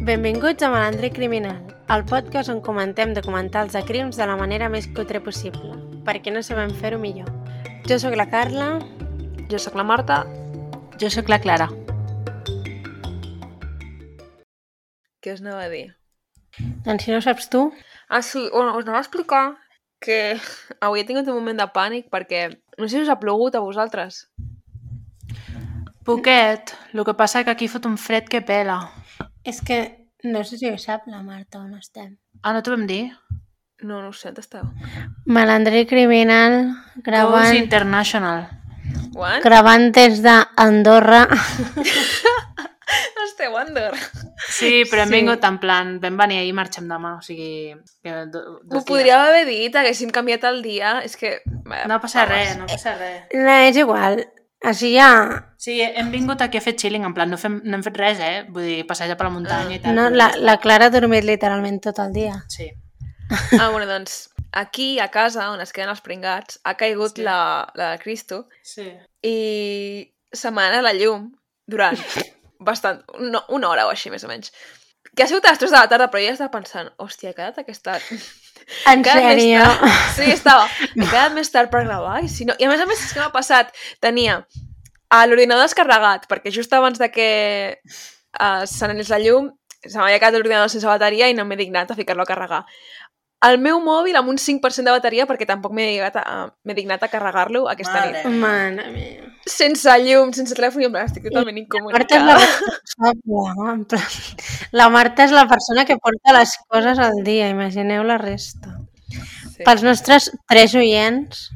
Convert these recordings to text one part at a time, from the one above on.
Benvinguts a Malandre Criminal, el podcast on comentem documentals de crims de la manera més cutre possible, perquè no sabem fer-ho millor. Jo sóc la Carla, Jo sóc la Marta. Jo sóc la Clara. Què us anava a dir? doncs si no ho saps tu, Ah, sí, bueno, us anava a explicar que avui he tingut un moment de pànic perquè no sé si us ha plogut a vosaltres. Poquet, el que passa que aquí fot un fred que pela. és que no sé si ho sap la Marta on estem. Ah, no t'ho vam dir? No, no ho sé, on esteu? Malandre Criminal, Gravant... gravant, International. What? gravant des d'Andorra. Esteu a Andorra. Sí, però hem Sí. vingut en plan, vam venir ahir i marxem demà, o sigui... Que do, dos Ho dies. podríeu haver dit, haguéssim canviat el dia. És que... No passa res, no passa res. No, és igual, així ja... Sí, hem vingut aquí a fer chilling, en plan, no, fem, no hem fet res, eh? Vull dir, passejar per la muntanya i tal. No, però la, ja està. la Clara ha dormit literalment tot el dia. Sí. Ah, bueno, doncs, aquí, a casa, on es queden els pringats, ha caigut Sí. la, la de Cristo sí. i se m'ha anat la llum durant bastant, no, una hora o així, més o menys. Que ha sigut a les 3 de la tarda, però ja estava pensant, hòstia, he quedat aquesta... En he quedat més sèrio? tard." Sí, estava. He quedat més tard per gravar i si no... I a més a més, és que m'ha passat, tenia a l'ordinador descarregat, perquè just abans de que uh, se n'anés la llum, se m'havia quedat l'ordinador sense bateria i no m'he dignat a ficar-lo a carregar. El meu mòbil amb un 5% de bateria perquè tampoc m'he dignat a, m'he dignat a carregar-lo aquesta nit Mare. Mare meva. sense llum, sense telèfon, i en plan, estic totalment Marta és la incomunicada. responsable. en plan, La Marta és la persona que porta les coses al dia, imagineu la resta. Sí, Pels nostres tres oients,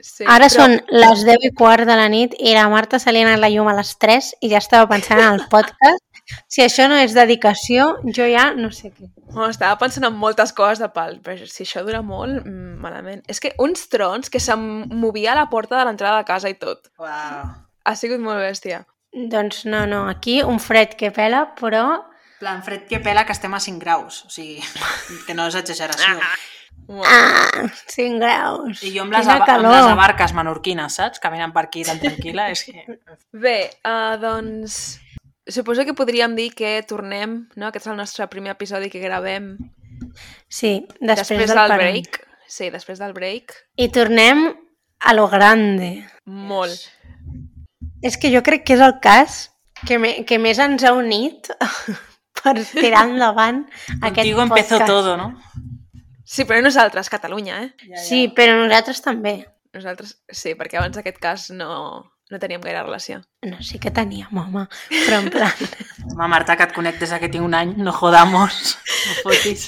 sí, ara són les 10 i quart de la nit i la Marta se li ha anat la llum a les 3 i ja estava pensant en el podcast. Si això no és dedicació, jo ja no sé què. Bueno, estava pensant en moltes coses de pal, però si això dura molt, mm, malament. És que uns trons que se'm movia a la porta de l'entrada de casa i tot. Uau. Ha sigut molt bèstia. Doncs no, no, aquí un fred que pela, però plan, fred que pela que estem a 5 graus, o sigui, que no és exageració. Molt. ah, 5 graus. I jo amb les, Quina aba- amb calor. les abarques menorquines, saps? Caminant per aquí tan tranquil·la, és que... Bé, uh, doncs... Suposo que podríem dir que tornem, no? Aquest és el nostre primer episodi que gravem Sí, després, després del, del parón. break. Sí, després del break. I tornem a lo grande. Molt. És que jo crec que és el cas que, me, que més ens ha unit per tirar endavant aquest Contigo podcast. empezó todo, no? Sí, però nosaltres, Catalunya, eh? Sí, però nosaltres també. Nosaltres, sí, perquè abans d'aquest cas no, no teníem gaire relació. No, sí que teníem, home, però en plan... Home, Marta, que et conec des que tinc un any, no jodamos, no fotis.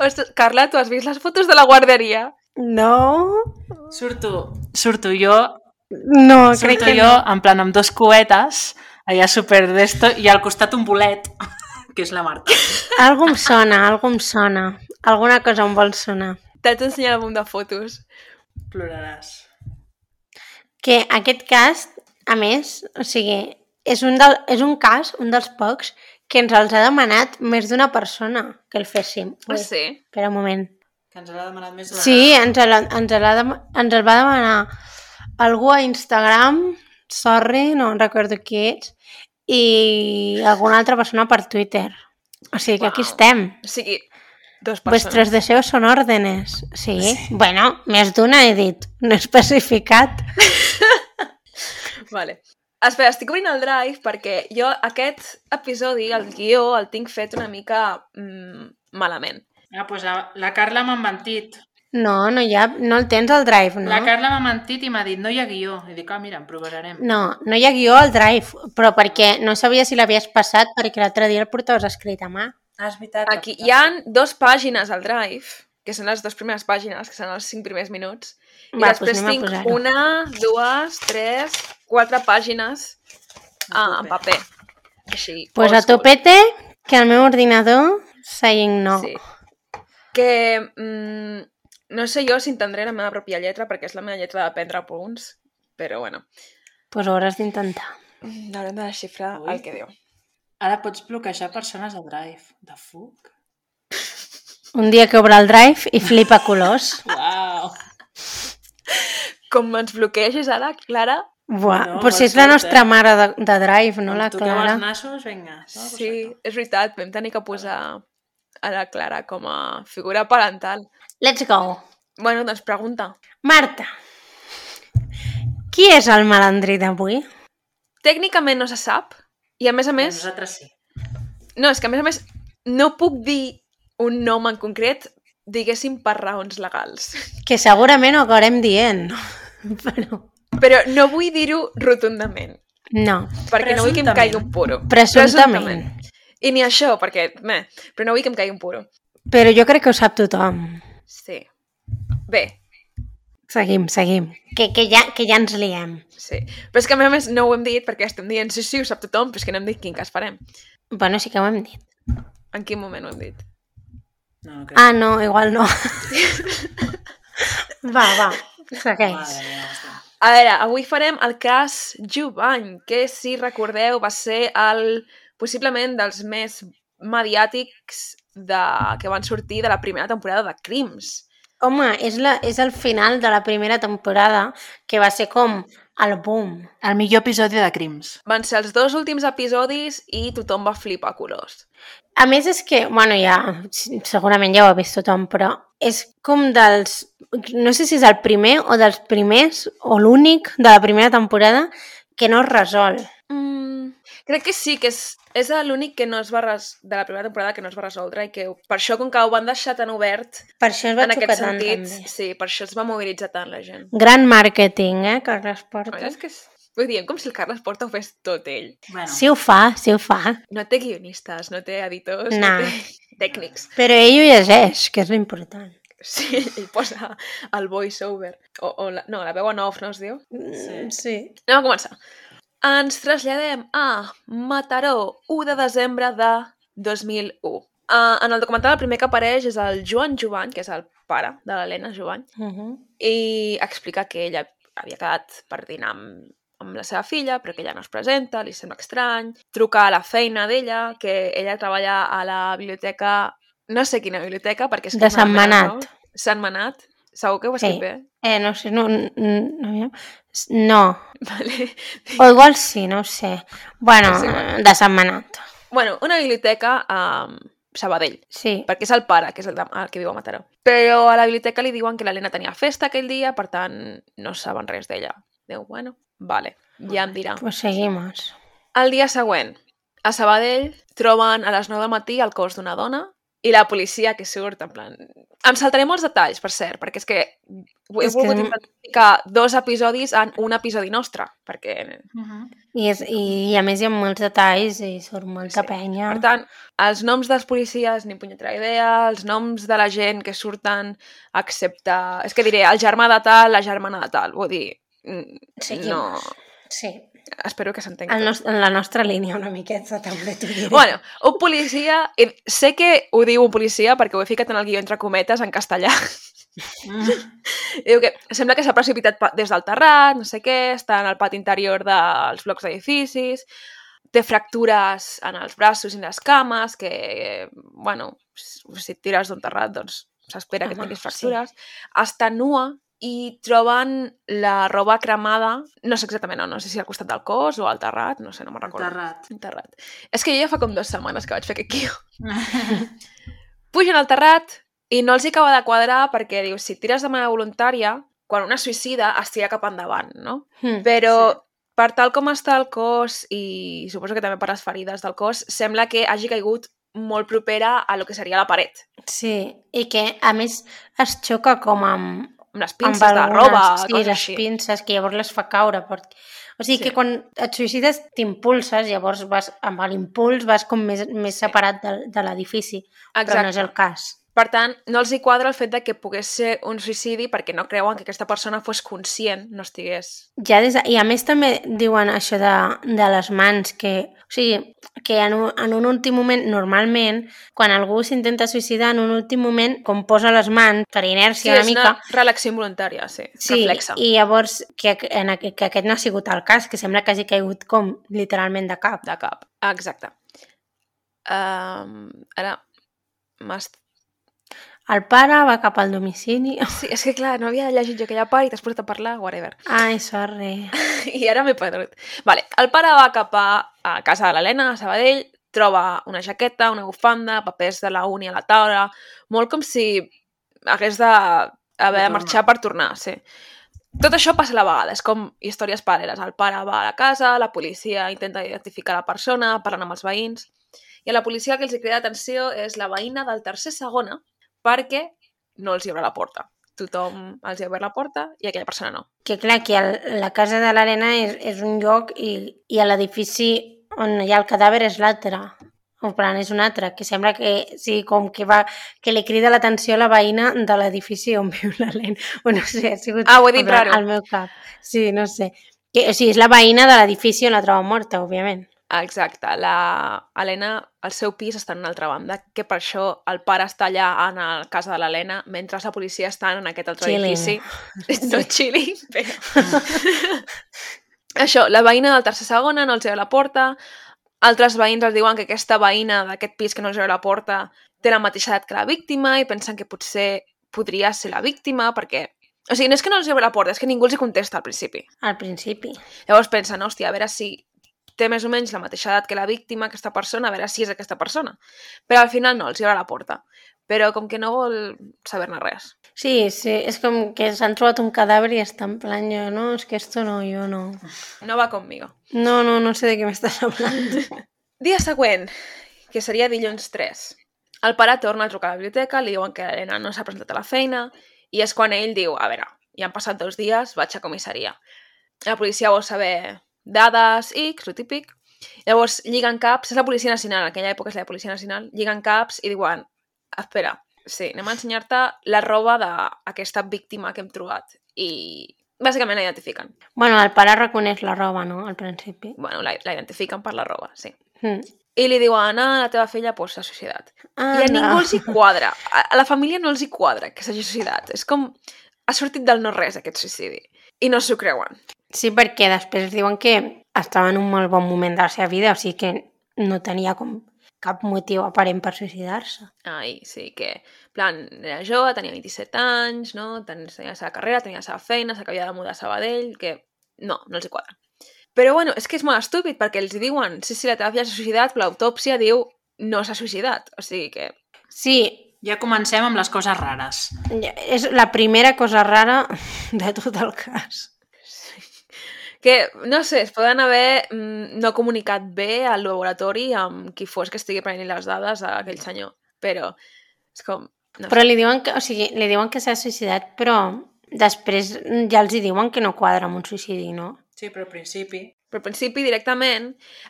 Ostres, Carla, tu has vist les fotos de la guarderia? No, Surto, surto jo, no, crec surto que jo, no. en plan, amb dos cuetes, allà super d'esto, i al costat un bolet, que és la Marta. Algú em sona, algú em sona. Alguna cosa em vol sonar. T'haig d'ensenyar l'àlbum de fotos. Ploraràs. Que aquest cas, a més, o sigui, és un, del, és un cas, un dels pocs, que ens els ha demanat més d'una persona que el féssim. Ah, sí? Espera un moment. Que ens l'ha demanat més Sí, ens el, ens, el, ens el va demanar algú a Instagram, sorry, no recordo qui ets, i alguna altra persona per Twitter. O sigui que aquí Uau. estem. O sigui, dos persones. Vuestros deseos son órdenes. Sí, bueno, més d'una he dit, no he especificat. Vale. Espera, estic obrint el drive perquè jo aquest episodi, el guió, el tinc fet una mica mm, malament. Ah, doncs la, la Carla m'ha mentit. No, no hi ha, no el tens al Drive, no? La Carla m'ha mentit i m'ha dit, no hi ha guió. I dic, ah, mira, em provarem. No, no hi ha guió al Drive, però perquè no sabia si l'havies passat perquè l'altre dia el portaves escrit a mà. Ah, és veritat. Aquí hi han dos pàgines al drive, que són les dues primeres pàgines, que són els cinc primers minuts. I Va, després doncs anem a tinc posar-ho. una, dues, tres, quatre pàgines ah, en paper. Així, Pues old a school. topete, que el meu ordinador saying no. Sí. Que mm, no sé jo si entendré la meva pròpia lletra, perquè és la meva lletra de prendre punts, però bueno, Pues ho hauràs d'intentar. mm, haurem de desxifrar Ui. el que diu. Ara pots bloquejar persones a Drive. De fuc? Un dia que obre el drive i flipa colors. Uau! Com ens bloquegis ara, Clara, Buah, No, no, potser és escolta. la nostra mare de, de Drive, no, Em la toqueu Clara? els nassos, vinga. No, Sí, és veritat, vam tenir que posar a la Clara com a figura parental. Let's go. Bueno, doncs pregunta. Marta, qui és el malandrí d'avui? Tècnicament no se sap, i a més a Més? més... Nosaltres sí. No, és que a més a més no puc dir un nom en concret, diguéssim, per raons legals. Que segurament ho acabarem dient, però Però no vull dir-ho rotundament, no, perquè no vull que em Presumptament. caigui un puro. presumptament. I ni això, perquè... Meh, però no vull que em caigui un puro. Però jo crec que ho sap tothom. Sí. Bé, Seguim, seguim. Que, que, ja, que ja ens liem. sí. Però és que a més a més no ho hem dit perquè estem dient sí, sí, ho sap tothom, però és que no hem dit quin cas farem. Bueno, sí que ho hem dit. En quin moment ho hem dit? No, no crec. Ah, no, igual no. va, va, Madre segueix. mía, hòstia. A veure, avui farem el cas Jubany, que si recordeu va ser el, possiblement dels més mediàtics de, que van sortir de la primera temporada de Crims. Home, és, la, és el final de la primera temporada que va ser com el boom. El millor episodi de Crims. Van ser els dos últims episodis i tothom va flipar colors. A més és que, bueno, ja, sí, segurament ja ho ha vist tothom, però és com dels, no sé si és el primer o dels primers o l'únic de la primera temporada que no es resol. Mm, crec que sí, que és, és l'únic que no es va res, de la primera temporada que no es va resoldre i que per això, com que ho van deixar tan obert, Per això es va en xocar aquest tant, sentit, també. sí, per això es va mobilitzar tant la gent. Gran màrqueting, eh, Carles A Porta. més, és que és... Ho diem com si el Carles Porta ho fes tot ell. Bueno, Sí ho fa, sí ho fa. No té guionistes, no té editors, No. no té tècnics. Però ell ho llegeix, que és l'important. Sí, ell posa el voiceover. O, o la, no, la veu en off, no es diu? Sí. Sí. sí. Anem a començar. Ens traslladem a Mataró, 1 de desembre de 2001. Uh, en el documental el primer que apareix és el Joan Jovany, que és el pare de l'Helena Jovany, Uh -huh. i explica que ella havia quedat per dinar amb, amb la seva filla, però que ella no es presenta, li sembla estrany. Truca a la feina d'ella, que ella treballa a la biblioteca, no sé quina biblioteca, perquè és que De me la Sant Manat. mero, No? Sant Manat. Segur que ho he Sí. escrit bé? Eh, no sé, no, no, no, no. Vale. O igual sí, no ho sé. Bueno, És igual. de Sant Manat. Bueno, una biblioteca a Sabadell, Sí. perquè és el pare, que és el, de, el que viu a Mataró. Però a la biblioteca li diuen que l'Helena tenia festa aquell dia, per tant, no saben res d'ella. Diu, bueno, vale, ja em dirà. Pues seguimos. El dia següent, a Sabadell, troben a les 9 del matí el cos d'una dona i la policia que surt, en plan... Em saltaré molts detalls, per cert, perquè és que he És que- volgut identificar dos episodis en un episodi nostre, perquè... Uh -huh. Mm-hmm. I, és, i, i a més hi ha molts detalls i surt molta Sí. penya. Per tant, els noms dels policies, ni punyetera idea, els noms de la gent que surten, excepte... És que diré, el germà de tal, la germana de tal, vull dir... mm, Seguim. No, Sí. espero que s'entengui. El nos, en la nostra línia una miqueta també t'ho diré. Bueno, un policia... i Sé que ho diu un policia perquè ho he ficat en el guió entre cometes en castellà. Mm. Diu que sembla que s'ha precipitat pa- des del terrat, no sé què, està en el pati interior dels blocs d'edificis, té fractures en els braços i en les cames, que, bueno, si et tires d'un terrat, doncs s'espera que Home, tinguis sí. fractures. Està nua i troben la roba cremada, no sé exactament on, no sé si al costat del cos o al terrat, no sé, no me'n recordo. Terrat. Enterrat. És que jo ja fa com dues setmanes que vaig fer aquest guió. Pugen al terrat i no els hi acaba de quadrar perquè, diu, si tires de manera voluntària, quan una suïcida es tira cap endavant, no? Mm. Però Sí. per tal com està el cos i suposo que també per les ferides del cos, sembla que hagi caigut molt propera a lo que seria la paret, Sí, i que a més es xoca com amb, amb les amb pinces de la roba, sí, coses les així. pinces, que llavors les fa caure. Perquè... O sigui sí. Sí. que quan et suïcides t'impulses, llavors vas, amb l'impuls vas com més, més separat de, de l'edifici, però no és el cas. Per tant, no els hi quadra el fet de que pogués ser un suïcidi perquè no creuen que aquesta persona fos conscient, no estigués... Ja des de... I a més també diuen això de, de les mans, que, o sigui, que en un, en un últim moment, normalment, quan algú s'intenta suïcidar, en un últim moment, com posa les mans, per Sí, inèrcia és una mica, una relació involuntària, sí, Sí, reflexa. i llavors que, aqu- en, aqu- que aquest no ha sigut el cas, que sembla que hagi caigut com literalment de cap. de cap. Exacte. Um, ara m'has... El pare va cap al domicili. Sí, és que clar, no havia llegit jo aquella part i t'has posat a parlar, whatever. Ai, sorry. I ara m'he perdut. Vale, el pare va cap a, a casa de l'Helena, a Sabadell, troba una jaqueta, una bufanda, papers de la uni a la taula, molt com si hagués de haver de tornar. marxar per tornar, sí. Tot això passa a la vegada, és com històries paral·leles. El pare va a la casa, la policia intenta identificar la persona, parlen amb els veïns, i a la policia el que els hi crida atenció és la veïna del tercer segona perquè no els hi obre la porta. Tothom els hi ha obert la porta i aquella persona no. Que clar, que el, la casa de l'Helena és, és un lloc i, i a l'edifici on hi ha el cadàver és l'altre. En plan, és un altre, que sembla que sí, com que, va, que li crida l'atenció a la veïna de l'edifici on viu l'Helena. O no sé, ha sigut... Ah, ho he dit en plan, raro. Al meu cap. Sí, no sé. Que, o sigui, és la veïna de l'edifici on la troba morta, òbviament. Exacte, la Helena, el seu pis està en una altra banda, que per això el pare està allà en la casa de l'Helena, mentre la policia està en aquest altre Chilling. edifici. No chilling, però... això, la veïna del tercer segona no els obre la porta, altres veïns els diuen que aquesta veïna d'aquest pis que no els obre la porta té la mateixa edat que la víctima i pensen que potser podria ser la víctima perquè... O sigui, no és que no els obre la porta, és que ningú els hi contesta al principi. Al principi. Llavors pensen, hòstia, a veure si té més o menys la mateixa edat que la víctima, aquesta persona, a veure si és aquesta persona. Però al final no, els hi obre la porta. Però com que no vol saber-ne res. Sí, sí, és com que s'han trobat un cadàver i està en plan jo, no, és que esto no, jo no. No va conmigo. No, no, no sé de què m'estàs parlant. Dia següent, que seria dilluns 3. El pare torna a trucar a la biblioteca, li diuen que l'Helena no s'ha presentat a la feina i és quan ell diu, a veure, ja han passat dos dies, vaig a comissaria. La policia vol saber dades, X, lo típic. Llavors lliguen caps, és la Policia Nacional, en aquella època és la Policia Nacional, lliguen caps i diuen, espera, sí, anem a ensenyar-te la roba d'aquesta víctima que hem trobat. I bàsicament la identifiquen. Bueno, el pare reconeix la roba, no?, al principi. Bueno, la, la identifiquen per la roba, sí. Mm. I li diuen, ah, la teva filla pues, s'ha suïcidat. Ah, I a ningú els hi quadra. A a la família no els hi quadra que s'hagi suïcidat. És com... Ha sortit del no-res aquest suïcidi. I no s'ho creuen. Sí, perquè després diuen que estava en un molt bon moment de la seva vida, o sigui que no tenia com cap motiu aparent per suïcidar-se. Ai, sí, que... En plan, era jove, tenia 27 anys, no? Ten- Tenia la seva carrera, tenia la seva feina, s'acabia de mudar a Sabadell, que... No, no els hi quadra. Però bueno, és que és molt estúpid, perquè els hi diuen, sí, sí, la teva filla s'ha suïcidat, però l'autòpsia diu no s'ha suïcidat. O sigui que... Sí, Ja comencem amb les coses rares. és la primera cosa rara de tot el cas. que, no sé, es poden haver mm, no comunicat bé al laboratori amb qui fos que estigui prenent les dades a aquell senyor, però és com... No Però li diuen que, o sigui, li diuen que s'ha suïcidat, però després ja els hi diuen que no quadra amb un suïcidi, no? Sí, però al principi... Però al principi, directament,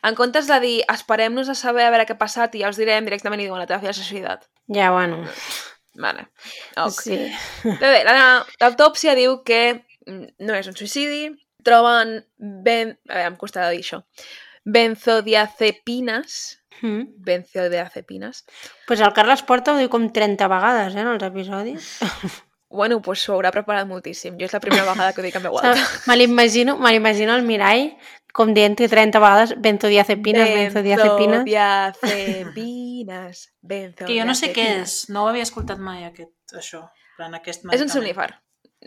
en comptes de dir esperem-nos a saber a veure què ha passat i ja us direm, directament li diuen la teva filla s'ha suïcidat. Ja, bueno, Vale. Ok. sí. Bé, bé, la- l'autòpsia diu que mm, no és un suïcidi, troben ben... A veure, em costa dir això. Benzodiazepines, Mm. benzodiazepines, Pues el Carles Porta ho diu com 30 vegades, eh, en els episodis. Bueno, pues s'ho haurà preparat moltíssim. Jo és la primera vegada que ho dic en veu alta. Saps? Me l'imagino, me l'imagino al mirall com dient 30 vegades benzodiazepines, benzodiazepines. Benzodiazepines. Benzodiazepines. Que jo no sé què és, no ho havia escoltat mai aquest, això. en Plan, aquest És un medicament. somnífer.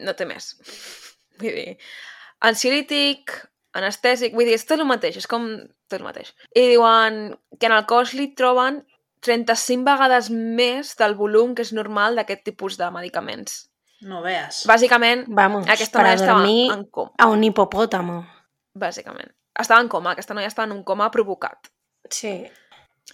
No té més. Vull dir, ansiolític, anestèsic, vull dir, és tot el mateix, és com tot el mateix. I diuen que en el cos li troben 35 vegades més del volum que és normal d'aquest tipus de medicaments. No vees. Bàsicament, Vamos, aquesta noia Mm, per estava dormir en coma, a un hipopòtamo. bàsicament. Estava en coma, aquesta noia estava en un coma provocat. Sí.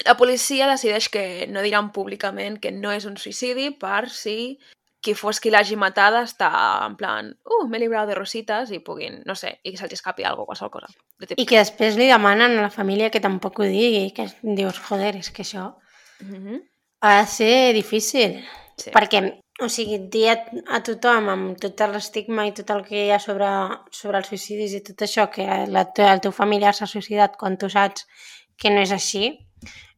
La policia decideix que no diran públicament que no és un suïcidi per si qui fos qui l'hagi matada està en plan uh, m'he librado de rositas i puguin, no sé, i que se'ls escapi alguna cosa, qualsevol cosa. Lo I típic. que després li demanen a la família que tampoc ho digui, que dius, joder, és que això Mhm, ha de ser difícil. sí. Perquè, o sigui, dir a, a tothom amb tot l'estigma i tot el que hi ha sobre, sobre els suïcidis i tot això, que la, te- el teu familiar s'ha suïcidat quan tu saps que no és així,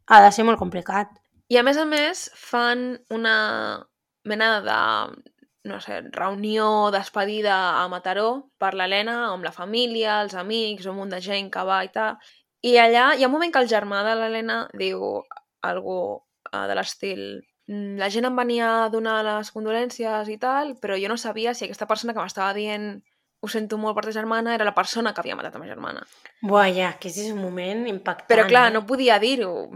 ha de ser molt complicat. I a més a més fan una mena de no sé, reunió despedida a Mataró per l'Helena, amb la família, els amics, un munt de gent que va i tal. I allà hi ha un moment que el germà de l'Helena diu algú eh, de l'estil mm, la gent em venia a donar les condolències i tal, però jo no sabia si aquesta persona que m'estava dient ho sento molt per ta germana era la persona que havia matat a ma germana. Buah, ja, que és un moment impactant. Però clar, eh? no podia dir-ho.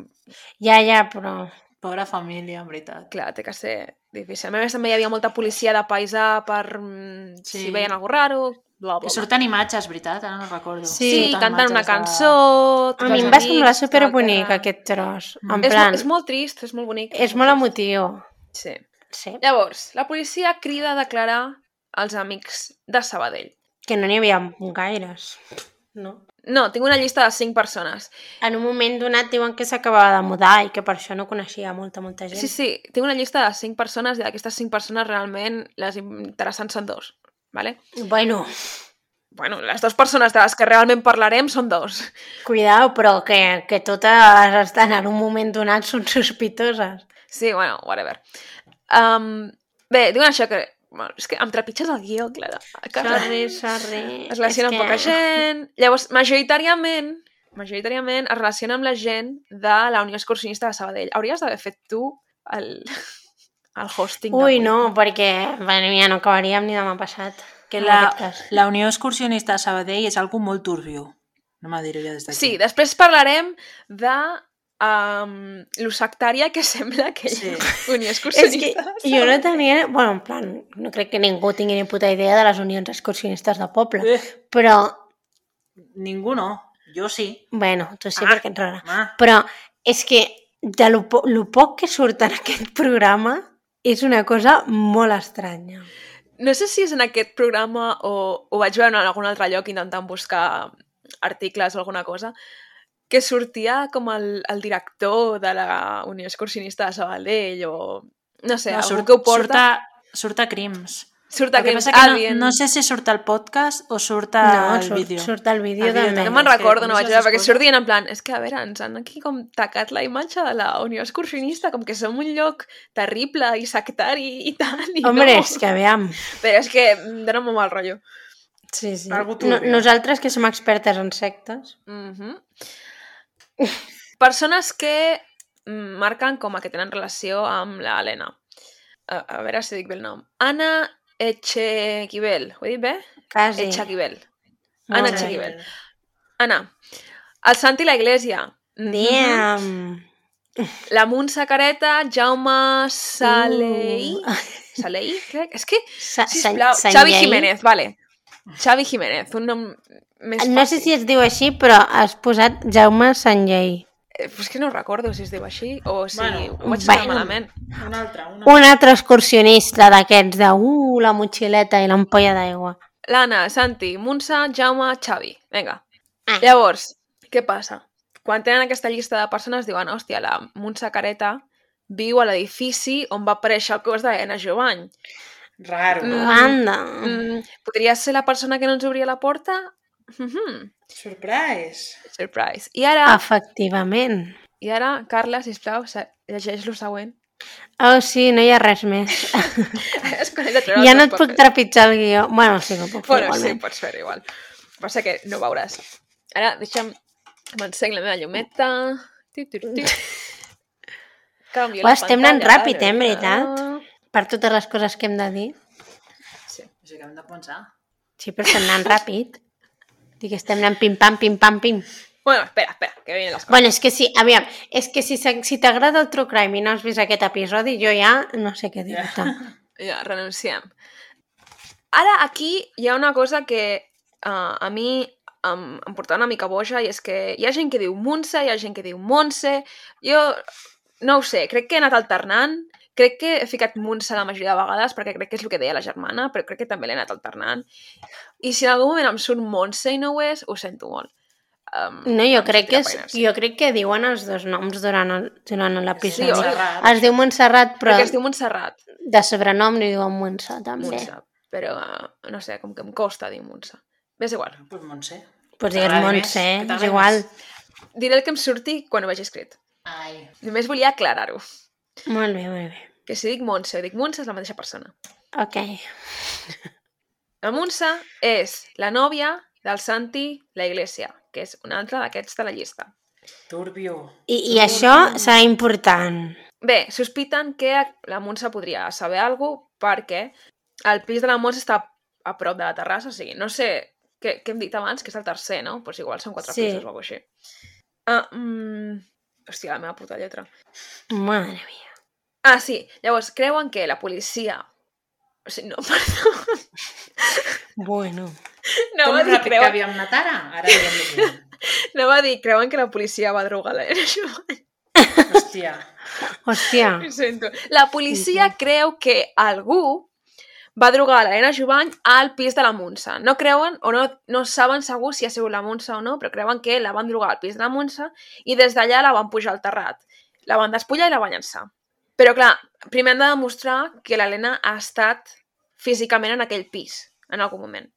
Ja, ja, però... Pobra família, en veritat. Clar, té que ser difícil. A més, també hi havia molta policia de paisà per mm, Sí. si veien algú raro, bla, bla, Que bla. surten imatges, veritat? Ara no recordo. Sí, Sí, cantant una cançó... A tots mi els em va amics, semblar tota la superbonic terra. aquest tros. Mm. En És, plan, mo- és molt trist, és molt bonic. és molt emotiu. trist. Sí. Sí. Llavors, la policia crida a declarar als amics de Sabadell. Que no n'hi havia gaires. No. No, tinc una llista de 5 persones. En un moment donat diuen que s'acabava de mudar i que per això no coneixia molta, molta gent. Sí, sí, tinc una llista de 5 persones i d'aquestes 5 persones realment les interessants són dos. Vale? Bueno, Bueno, les dues persones de les que realment parlarem són dos. cuidao, però que, que totes estan en un moment donat són sospitoses. Sí, bueno, whatever. Um, bé, diuen això que... Bueno, és que em trepitges el guió, Clara. Sorry, sorry. es relaciona És amb poca que- gent... Llavors, majoritàriament, majoritàriament es relaciona amb la gent de la Unió Excursionista de Sabadell. Hauries d'haver fet tu el, el hosting. Ui, d'avui. no, perquè bueno, ja no acabaríem ni demà passat. Que en la, aquest cas. la Unió Excursionista de Sabadell és algo molt turbio. No m'ho diré jo des d'aquí. Sí, després parlarem de um, lo sectària que sembla que Sí. sí. Unió És que Excursionista. És jo no tenia... Bueno, en plan, no crec que ningú tingui ni puta idea de les unions excursionistes de poble. Eh, Però, ningú no. Jo sí. bueno, tu sí, Ah. perquè ets rara. Ah, Però és que de lo, po lo poc que surt en aquest programa és una cosa molt estranya. No sé si és en aquest programa o ho vaig veure en algun altre lloc intentant buscar articles o alguna cosa, que sortia com el, el director de la Unió Excursionista de Sabadell o... No sé, no, no, algú surt, que ho porta... Surt a, surt a Crims. Surt, El que passa aquest que alien. no, no sé si surt al podcast o surt No, al surt, vídeo. surt el vídeo El vídeo també. No també. me'n és que recordo, no només vaig veure, les perquè escolto. sortien en plan, és que, a veure, ens han aquí com tacat la imatge de la Unió Excursionista, com que som un lloc terrible i sectari i tal, i Hombre, no. és que aviam. Però és que em dóna molt mal rotllo. Sí, sí. Algo No, turbio. nosaltres que som expertes en sectes. Mm Persones que mm, marquen com a que tenen relació amb la Helena. A, a veure si dic bé el nom. Anna Echequivel. Ho he dit bé? Quasi. Eh, Echequivel. Molt Anna bé. Echequivel. Anna. El Santi i la Iglesia. Mhm. Damn. La Montse Careta, Jaume Salei... Uh. Salei, crec? És que, Sa- sa- sisplau, sa- Xavi Sanjay. Jiménez, vale. Xavi Jiménez, un nom més fàcil. No sé si es diu així, però has posat Jaume Sanjay. Eh, però És que no recordo si es diu així o si Bueno, ho vaig escriure bueno. malament. Un altre, un Un altre excursionista d'aquests de uh, la motxileta i l'ampolla d'aigua. L'Anna, Santi, Montse, Jaume, Xavi. Vinga. Ah. Llavors, què passa? Quan tenen aquesta llista de persones diuen, hòstia, la Montse Careta viu a l'edifici on va aparèixer el cos d'Ena Jovany. Raro. Mm. Anda. Mm, podria ser la persona que no ens obria la porta? Mm -hmm. Surprise. Surprise. I ara, ah. Efectivament. i ara Carla, sisplau, se- llegeix lo següent. Oh, sí, no hi ha res més. És quan he de treure ja els no et teus puc papers. trepitjar el guió. Bueno, sí, que ho puc fer Bueno, sí, igualment. pots fer igual. El que Passa que no veuràs. Ara, deixa'm... M'encenc la meva llumeta. Tu, tu, tu. Canvio Uah, la estem anant pantalla, ràpid, eh, en veritat. Per totes les coses que hem de dir. Sí. O sigui que hem de pensar. Sí, però estem anant ràpid. Dic, estem anant pim-pam, pim-pam, pim. Bueno, espera, espera, que vienen les coses. Bueno, és que sí, aviam, és que si, se- si t'agrada el True Crime i no has vist aquest episodi, jo ja no sé què dir-te. Ja, renunciem. Ara, aquí hi ha una cosa que uh, a mi em, em portava una mica boja i és que hi ha gent que diu Montse, hi ha gent que diu Montse. Jo no ho sé, crec que he anat alternant. Crec que he ficat Montse la majoria de vegades perquè crec que és el que deia la germana, però crec que també l'he anat alternant. I si en algun moment em surt Montse i no ho és, ho sento molt. Um, No, jo crec, que, Tira és, penes. jo crec que diuen els dos noms durant el- durant l'episodi. Sí, Sí, Montserrat. es diu Montserrat, però Perquè es diu Montserrat, de sobrenom li diuen Montse, també. Doncs Montse, però uh, no sé, com que em costa dir Montse. Bé, és igual. Pues Montse. pues digues T'agradi Montse, més, eh? que és t'agradi igual. més. Diré el que em surti quan ho vegi escrit. Ai. Només volia aclarar-ho. Molt bé, molt bé. Que si dic Montse o dic Montse és la mateixa persona. Ok. La Montse és la nòvia del Santi La Iglesia, que és un altre d'aquests de la llista. Turbio. I, i això serà important. Bé, sospiten que la Montse podria saber alguna cosa perquè el pis de la Montse està a prop de la terrassa, o sigui, no sé què, què hem dit abans, que és el tercer, no? Doncs igual són quatre Sí. pisos o alguna cosa així. Ah, mm, hòstia, la meva puta lletra. Madre mía. Ah, sí. Llavors, creuen que la policia... O sigui, no, perdó. Bueno. No va, Com dir, ràpid que creuen, havíem anat ara? Ara havíem dit. no va dir, creuen que la policia va drogar la Elena Giovanni. Hòstia. Hòstia. Ho sento. La policia creu que algú va drogar l'Helena Jovany al pis de la Montse. No creuen o no, no saben segur si ha sigut la Montse o no, però creuen que la van drogar al pis de la Montse i des d'allà la van pujar al terrat. La van despullar i la van llançar. Però, clar, primer hem de demostrar que l'Helena ha estat físicament en aquell pis, en algun moment.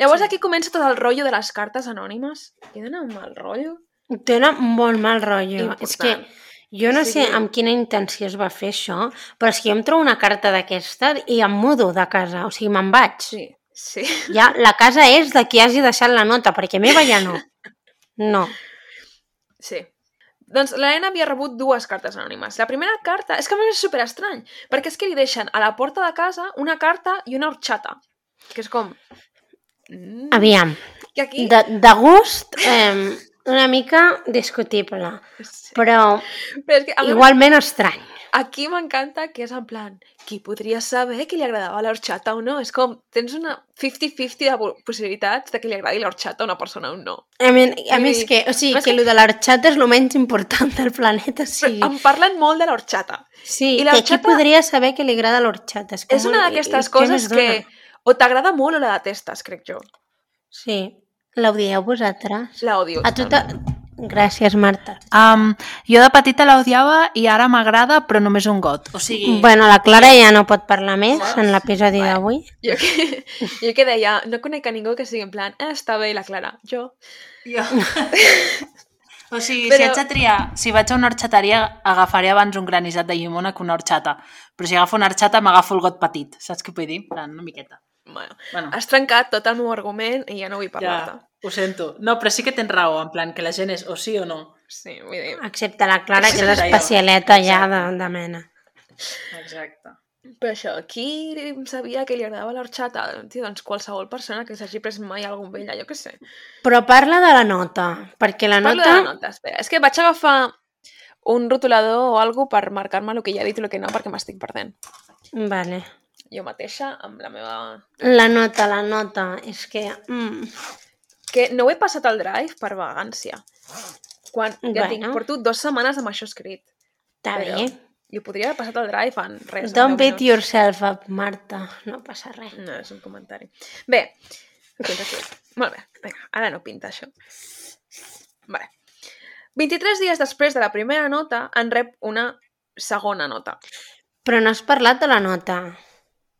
Llavors Sí. aquí comença tot el rotllo de les cartes anònimes. Que dona un mal rotllo. Dóna molt mal rotllo. Important. És que jo no Sí. sé amb quina intenció es va fer això, però és que jo em trobo una carta d'aquesta i em mudo de casa, o sigui, me'n vaig. Sí, sí. Ja, la casa és de qui hagi deixat la nota, perquè meva ja no. No. Sí. Doncs l'Helena havia rebut dues cartes anònimes. La primera carta... És que a més és superestrany, perquè és que li deixen a la porta de casa una carta i una horxata. Que és com... Mm. Aviam, I aquí... de, de gust eh, una mica discutible, Sí. però Però és que, a Igual... igualment estrany. aquí m'encanta que és en plan... Qui podria saber que li agradava l'horxata o no? És com... Tens una 50-50 de po- possibilitats de que li agradi l'horxata a una persona o no. A mi, a mi és Sí. que, o sigui, Però és que que- el de l'arxata és el menys important del planeta, o Sí. sigui, Em parlen molt de l'horxata. sí, i que aquí l'orxata- podria saber que li agrada l'orxata. És, com És una el- d'aquestes què més coses que dona? o t'agrada molt o la detestes, crec jo. Sí, l'odieu vosaltres? La odio. A tu te... Gràcies, Marta. Um, jo de petita la odiava i ara m'agrada, però només un got. O sigui, Bueno, la Clara ja no pot parlar més Saps? en l'episodi Vale. d'avui. Jo que, jo que deia, no conec a ningú que sigui en plan, eh, està bé la Clara, jo. jo... o sigui, Però- si haig de triar, si vaig a una horxataria, agafaré abans un granissat de llimona que una horxata. Però si agafo una horxata, m'agafo el got petit. Saps què vull dir? En plan, Una miqueta. Bueno, Bueno, has trencat tot el meu argument i ja no vull parlar-te. ja, ho sento. No, però sí que tens raó, en plan, que la gent és o sí o no. Sí, vull dir... Excepte la Clara, que és Excepte jo. especialeta ja de, Exacte. de mena. Exacte. Però això, qui sabia que li agradava l'orxata? Tio, doncs qualsevol persona que s'hagi pres mai algun vella, jo què sé. Però parla de la nota, perquè la Parlo nota... de la nota, espera. És que vaig agafar un rotulador o alguna per marcar-me el que ja he dit i el que no, perquè m'estic perdent. Vale. Jo mateixa, amb la meva... La nota, la nota, és que... Mm, Que no he passat el drive per vagància. Quan, ja bueno. tinc, Bueno. porto dues setmanes amb això escrit. està Però- bé. Jo podria haver passat el drive en res. en Don't deu beat yourself up, Marta. No passa res. No, és un comentari. Bé, fins aquí. Molt bé, vinga, ara no pinta això. Vale. 23 dies després de la primera nota en rep una segona nota, Però no has parlat de la nota.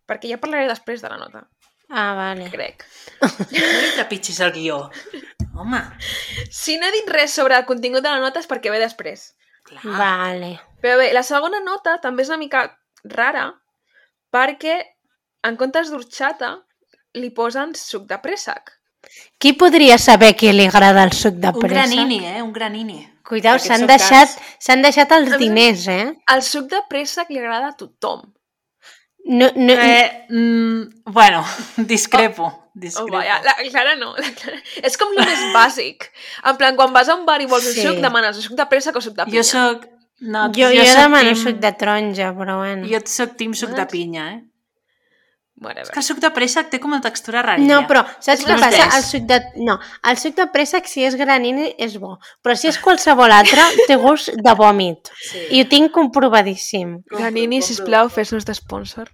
perquè ja parlaré després de la nota, Ah, vale. crec. No li trepitgis el guió. Home, Si no he dit res sobre el contingut de la nota és perquè ve després. clar. Vale. Però bé, la segona nota també és una mica rara perquè en comptes d'orxata li posen suc de préssec. Qui podria saber que li agrada el suc de Un pressa? granini, eh? Un granini. Cuidao, Aquests s'han són deixat, cars. s'han deixat els A mi- diners, eh? El suc de préssec li agrada a tothom. Oh, No, no, Eh, mm, bueno, discrepo. Oh, discrepo. vaja, la Clara no. La Clara... És com el més bàsic. En plan, quan vas a un bar i vols un Sí. suc, demanes un suc de pressa o suc de pinya. Jo sóc... No, jo, jo, sóc demano team- suc de taronja, però bueno. Jo sóc tim suc de pinya, eh? Whatever. És que el suc de préssec té com una textura rara. No, però saps És què un passa? test. El suc de... No, el suc de préssec, si és granini, és bo. Però si és qualsevol altre, té gust de vòmit. Sí. I ho tinc comprovadíssim. Ganini, sisplau, fes-nos de sponsor.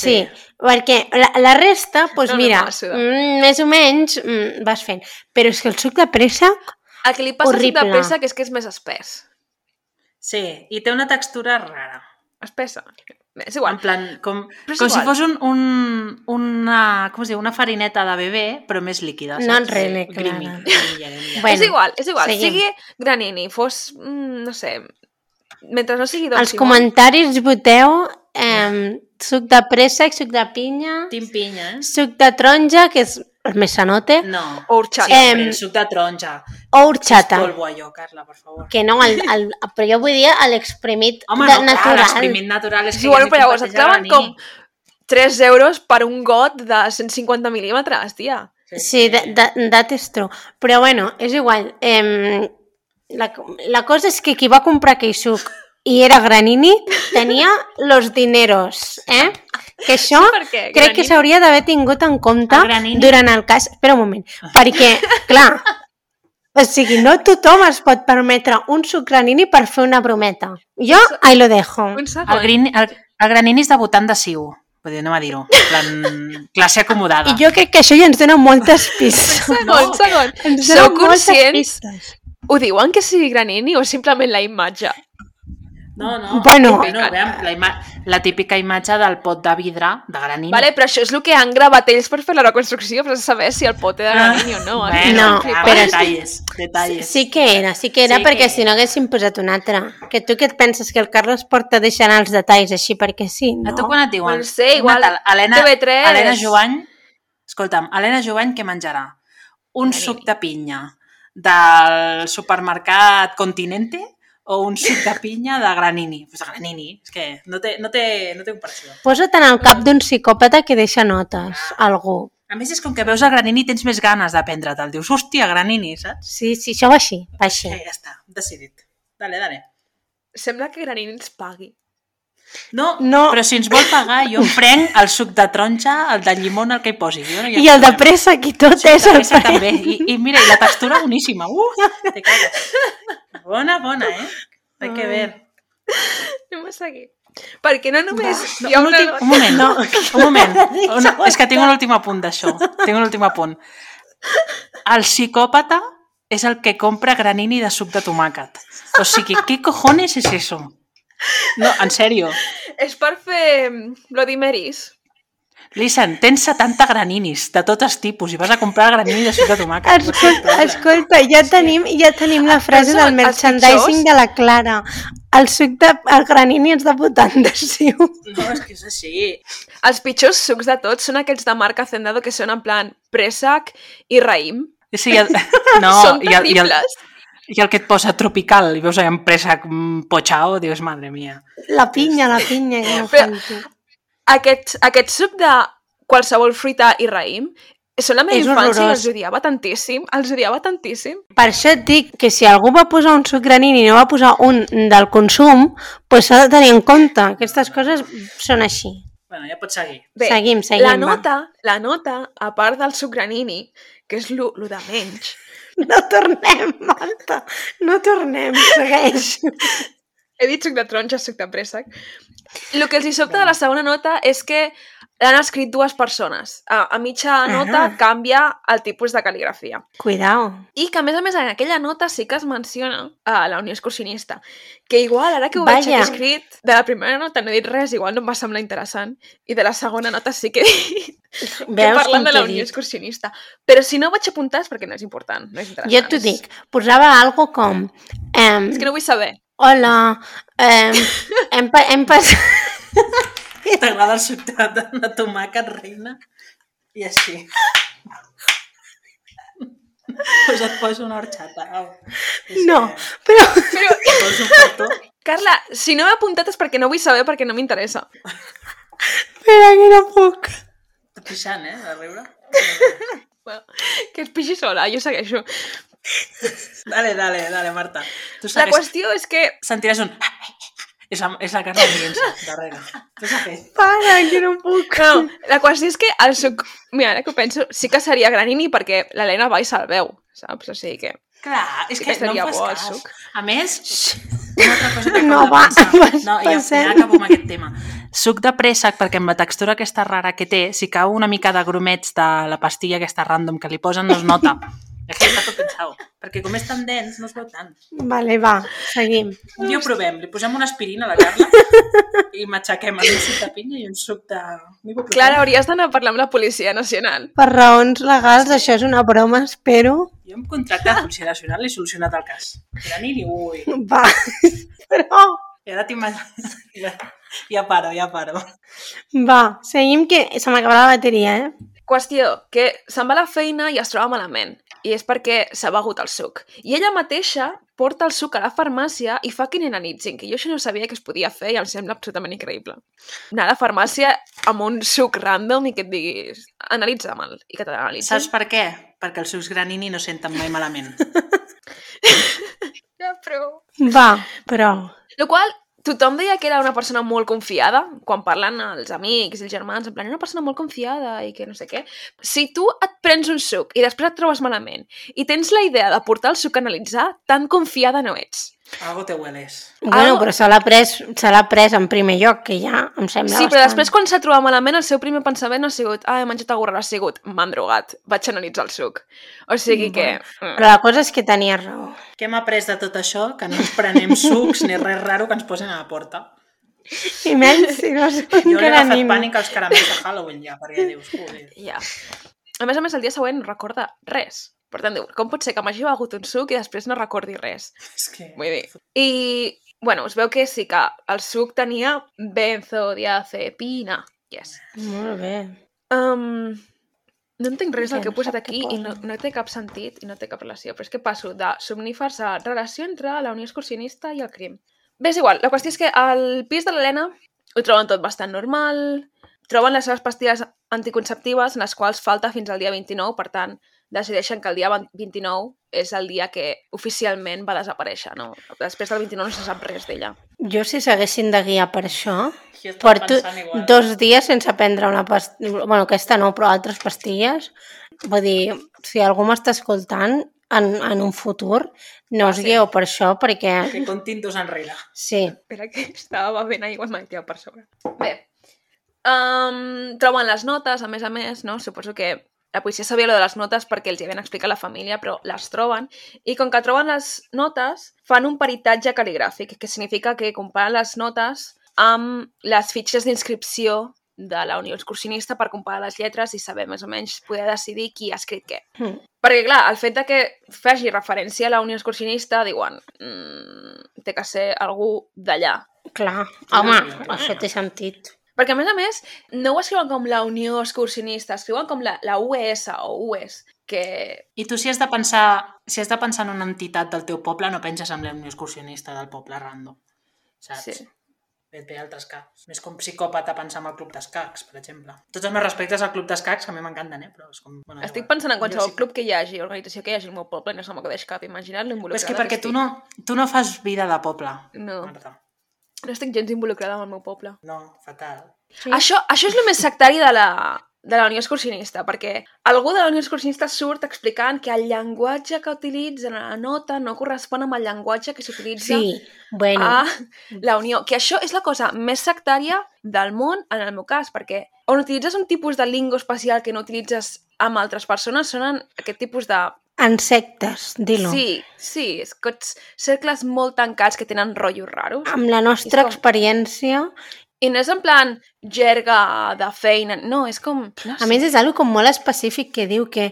Sí, perquè la, la resta, doncs No, no, mira, massa. mm, més o menys mm, vas fent. Però és que el suc de préssec, El que li passa Horrible. suc Horrible. de pressa que és que és més espès. Sí, i té una textura rara. Espessa. Bé, És En igual. plan, com, Però és com si igual. fos un, un, una, com es diu, una farineta de bebè, però més líquida. No enrere, Sí, Clara. grimi, grimi, ja, grimi, ja. Bueno, és igual, és igual. seguim. Sigui Granini, fos, mm, no sé, mentre no sigui Don els Simón. comentaris voteu eh, suc de préssec, suc de pinya, Tim pinya, eh? suc de taronja, que és el més sanote, No. O horxata. Eh, Sempre, Em- suc de taronja. O horxata. Polvo allò, Carla, per favor. Que no, el, el, però jo vull dir l'exprimit Home, de- no, clar, natural. l'exprimit natural és És que igual, ja però ni llavors et comparteix a la claven nit. com 3 euros per un got de 150 mil·límetres, tia. Sí, de, de, that is true. Però bueno, és igual. Eh, la, la cosa és que qui va comprar aquell suc i era Granini tenia los dineros, eh? Que això Per què? crec que s'hauria d'haver tingut en compte El Granini. durant el cas... Espera un moment, perquè, clar, o sigui, no tothom es pot permetre un suc Granini per fer una brometa. Jo, ahí lo dejo. Un El, segon. green, el, el Granini és debutant de Siu. Vull dir, anem a dir-ho. En Plan, classe acomodada. I jo crec que això ja ens dona moltes pistes. Un segon, un segon. Ens dona Sou moltes conscients? pistes. Ho diuen que sigui Granini o simplement la imatge? No, no. Bueno. no veiem, la, ima... la típica imatge del pot de vidre de Granini. Vale, però això és el que han gravat ells per fer la reconstrucció, per saber si el pot era Granini o no. eh? Ah, Bueno, No, clar, però- Detalles, detalles. Sí que era, sí que era, Sí sí que perquè era. si no haguessin posat un altre. Que tu què et penses, que el Carles Porta deixant els detalls així perquè sí, A no? tu quan et diuen? No sé, igual Una tal- Helena, TV3. Helena Jovany, escolta'm, Helena Jovany què menjarà? Un Granini. suc de pinya del supermercat Continente o un suc de pinya de Granini? Pues de Granini, és que no té, no té, no té comparació. Posa't en el cap d'un psicòpata que deixa notes, algú. A més, és com que veus el Granini i tens més ganes d'aprendre-te'l. Dius, hòstia, Granini, saps? Sí, sí, això va així, va així. Sí. Ja està, decidit. Dale, dale. Sembla que Granini ens pagui. No, No. però si ens vol pagar, jo em prenc el suc de taronja, el de llimona, el que hi posi. Jo no hi ha I el de problema. pressa aquí tot Sí, és el també, pressa. també. I, I mira, i la textura boníssima. Uh, te cagas. Bona, bona, eh? Hay que ver. Anem a seguir. Perquè no només... No, hi ha un, una... últim, un moment, no. un moment. Una, és que tinc un últim apunt d'això. Tinc un últim apunt. El psicòpata és el que compra granini de suc de tomàquet. O sigui, què cojones és eso? No, en sèrio. És per fer mm, Bloody Marys. Listen, tens 70 graninis de tots tipus i vas a comprar granini de suc de tomàquet. Escolta, escolta, ja tenim, ja tenim Ah, la frase Però són del els merchandising pitjors. de la Clara. El suc de... El granini ens de putant de siu. No, és que és així. Els pitjors sucs de tots són aquells de marca Zendado que són en plan préssec i raïm. Sí, el... No, són i el, i el, terribles. I el que et posa tropical i veus allà empresa com Pochao, dius, madre mia. La pinya, la pinya. Que no Però- falti. Aquest, aquest suc de qualsevol fruita i raïm són la meva És infància i horrorós. els odiava tantíssim. Els odiava tantíssim. Per això et dic que si algú va posar un suc granini i no va posar un del consum, doncs s'ha de tenir en compte. Aquestes coses són així. Bueno, ja pots seguir. Bé, Seguim, seguim, La va. nota, la nota, a part del suc granini, que és lo, lo de menys, No tornem, Marta. No tornem, segueix. he dit suc de taronja, suc de préssec. El que els hi sobta de la segona nota és que l'han escrit dues persones. A, a mitja nota Ah. canvia el tipus de cal·ligrafia. Cuidao. I que, a més a més, en aquella nota sí que es menciona a la Unió Excursionista. Que igual, ara que ho veig Vaja. aquí escrit, de la primera nota no he dit res, igual no em va semblar interessant. I de la segona nota sí que he dit que Veus parlen com de la t'he Unió dit? Excursionista. Però si no ho vaig apuntar és perquè no és important, no és interessant. Jo t'ho és- dic. Posava algo com... Ehm, És que no vull saber. Hola, ehm, hem, pa hem passat... T'agrada el suc de, de, de tomàquet, reina? I així. pues et poso una horxata. Au. És No, Que... però... Però, Et poso un petó. Carla, si no m'he apuntat és perquè no vull saber, perquè no m'interessa. Espera, que no puc. T'ho pixant, eh, de riure. Bueno, que et pixi sola, jo segueixo. Dale, dale, dale, Marta. Tu La segueix. qüestió és que... Sentiràs un... És la, és la Carla Miensa, darrere. Tu segueix. Para, que no puc. No, la qüestió és que el suc... Mira, ara que ho penso, sí que seria Granini perquè l'Helena Valls el veu, saps? O sigui que... Clar, és Sí que que no seria em fas bo el cas. suc. A més, una altra cosa que No, acabo va, de pensar. vas No, ja, pensant. ja acabo amb aquest tema. Suc de préssec, perquè amb la textura aquesta rara que té, si cau una mica de grumets de la pastilla aquesta random que li posen, no es nota. És que està tot pensau. Perquè com és tan dens, no es veu tant. Vale, va, seguim. Un dia ho provem, li posem una aspirina a la Carla i matxaquem amb un suc de pinya i un suc de... Ibuprofèn. Clara, hauries d'anar a parlar amb la Policia Nacional. Per raons legals, això és una broma, espero. Jo amb contracte de policia nacional li he solucionat el cas. Era ni ui. Va, però... I ara t'imagines... Ja, ja paro, ja paro. Va, seguim que se m'acaba la bateria, eh? Qüestió, que se'n va a la feina i es troba malament. i és perquè s'ha begut el suc. I ella mateixa porta el suc a la farmàcia i fa kinenanitzing, que jo això no sabia que es podia fer i em sembla absolutament increïble. Anar a la farmàcia amb un suc random i que et diguis analitza mal i que te l'analitzin. Saps per què? Perquè els seus granini no senten mai malament. Ja, però... Va, però... Lo qual, tothom deia que era una persona molt confiada, quan parlen els amics i els germans, en plan, era una persona molt confiada i que no sé què. Si tu et prens un suc i després et trobes malament i tens la idea de portar el suc a analitzar, tan confiada no ets. Algo te hueles. Bueno, Algo- però se l'ha pres, se l'ha pres en primer lloc, que ja em sembla sí, però bastant. després quan s'ha trobat malament el seu primer pensament no ha sigut ah, he menjat agorra, ha sigut m'han drogat, vaig analitzar el suc. O sigui que... mm. Però la cosa és que tenia raó. Què hem après de tot això? Que no ens prenem sucs ni res raro que ens posen a la porta. I menys si no és un Jo li he agafat granim. pànic als caramels de Halloween ja, perquè dius, joder. mm, Ja. A més a més, el dia següent no recorda res. Per tant, diu, com pot ser que m'hagi begut un suc i després no recordi res? És que... Vull dir... I, bueno, es veu que sí que el suc tenia benzodiazepina. Yes. Molt bé. Um, no entenc res del Ja que no he posat sap què aquí i no, posa. no té cap sentit i no té cap relació. Però és que passo de somnífers a relació entre la unió excursionista i el crim. Bé, és igual. La qüestió és que al pis de l'Helena ho troben tot bastant normal, troben les seves pastilles anticonceptives, en les quals falta fins al dia 29, per tant, decideixen que el dia 29 és el dia que oficialment va desaparèixer, no? Després del 29 no se sap res d'ella. Jo si s'haguessin de guiar per això, Jo estava porto pensant igual. dos dies sense prendre una pastilla, bueno, aquesta no, però altres pastilles. Vull dir, si algú m'està escoltant en, en un futur, no us Sí. guieu per això perquè... Que contin dos enrere. Sí, Espera que estava bevent aigua amb el teu per sobre. Bé, um, troben les notes, a més a més, no? Suposo que la policia sabia lo de les notes perquè els hi havien explicat a la família, però les troben. I com que troben les notes, fan un peritatge cal·ligràfic, que significa que comparen les notes amb les fitxes d'inscripció de la Unió Excursionista per comparar les lletres i saber més o menys poder decidir qui ha escrit què. Mm. Perquè, clar, el fet de que faci referència a la Unió Excursionista, diuen, mm, té que ser algú d'allà, clar. Home, no, no. això té sentit. perquè, a més a més, no ho escriuen com la Unió Excursionista, escriuen com la, la US o US, que... I tu si has de pensar, si has de pensar en una entitat del teu poble, no penses en l'unió excursionista del poble random, saps? Sí. Sí. Et ve altres caps. Més com psicòpata pensar en el club d'escacs, per exemple. Tots els meus respectes al club d'escacs, que a mi m'encanten, eh? Però és com... Bueno, Estic igual. pensant en Jo qualsevol sí que- club que hi hagi, organització que hi hagi al meu poble, i no se m'acudeix cap, imagina't Però l'involucrada. és que perquè tu no, tu no fas vida de poble, estic. No, Marta. no estic gens involucrada amb el meu poble. No, fatal. Sí. Això, això és el més sectari de la, de la Unió Excursionista, perquè algú de la Unió Excursionista surt explicant que el llenguatge que utilitzen a la nota no correspon amb el llenguatge que s'utilitza Sí, bueno. a la unió. Que això és la cosa més sectària del món, en el meu cas, perquè on utilitzes un tipus de lingo especial que no utilitzes amb altres persones són en aquest tipus de... En sectes, dilo. Sí. Sí, sí, escots, cercles molt tancats que tenen rotllos raros. Amb la nostra És com- experiència, I no és en plan jerga de feina, no, és com... No a més és algo com molt específic que diu que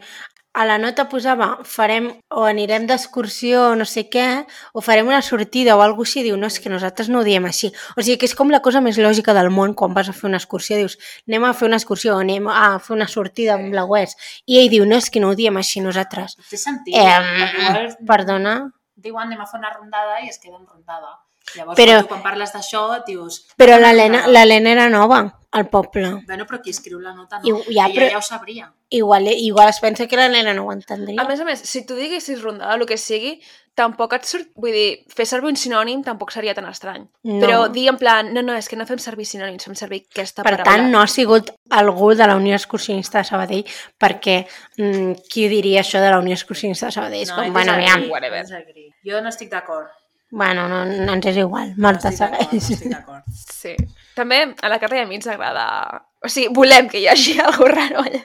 a la nota posava farem o anirem d'excursió o no sé què, o farem una sortida o alguna així, diu, no, és que nosaltres no ho diem així. O sigui que és com la cosa més lògica del món quan vas a fer una excursió, dius, anem a fer una excursió o anem a fer una sortida amb la UES. I ell diu, no, és que no ho diem així nosaltres. Té sentit. Eh, perdona, diuen anem a fer una rondada i es queden rondada. Llavors, Però- però... tu quan parles d'això, dius... "Ah, però l'Helena l'Helena era nova al poble. Bueno, però qui escriu la nota no. I- I, ja, ja, però- ja ho sabria. Igual, igual es pensa que l'Helena no ho entendria. A més a més, si tu diguessis rondada, el que sigui, tampoc et surt... Vull dir, fer servir un sinònim tampoc seria tan estrany. No. Però dir en plan, no, no, és que no fem servir sinònims, fem servir aquesta Per paraula. tant, no ha sigut algú de la Unió Excursionista de Sabadell, perquè mm, qui diria això de la Unió Excursionista de Sabadell? És com, és bueno, agree, aviam, whatever. és agree. Jo no estic d'acord. bueno, no, no ens és igual, No Marta, estic d'acord, no segueix. estic d'acord. Sí. També a la carrera a mi ens agrada... O sigui, volem que hi hagi alguna raro allà.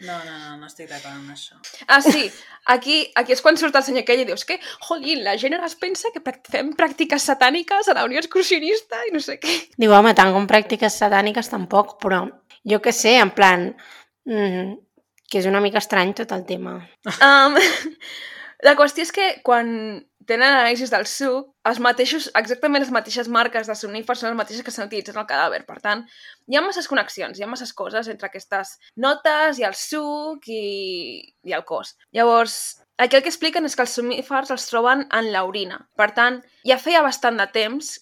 No, no, no, no estic d'acord amb això. Ah, sí. Aquí, aquí és quan surt el senyor aquell i dius que, jolín, la gent ara es pensa que prac- fem pràctiques satàniques a la Unió Excursionista i no sé què. Diu, home, tant com pràctiques satàniques tampoc, però jo que sé, en plan, mm, que és una mica estrany tot el tema. Um, La qüestió és que quan tenen anàlisis del suc, els mateixos, exactament les mateixes marques de somnífers són les mateixes que s'han utilitzat en el cadàver. Per tant, hi ha masses connexions, hi ha masses coses entre aquestes notes i el suc i, i el cos. Llavors, aquí el que expliquen és que els somnífers els troben en l'orina. Per tant, ja feia bastant de temps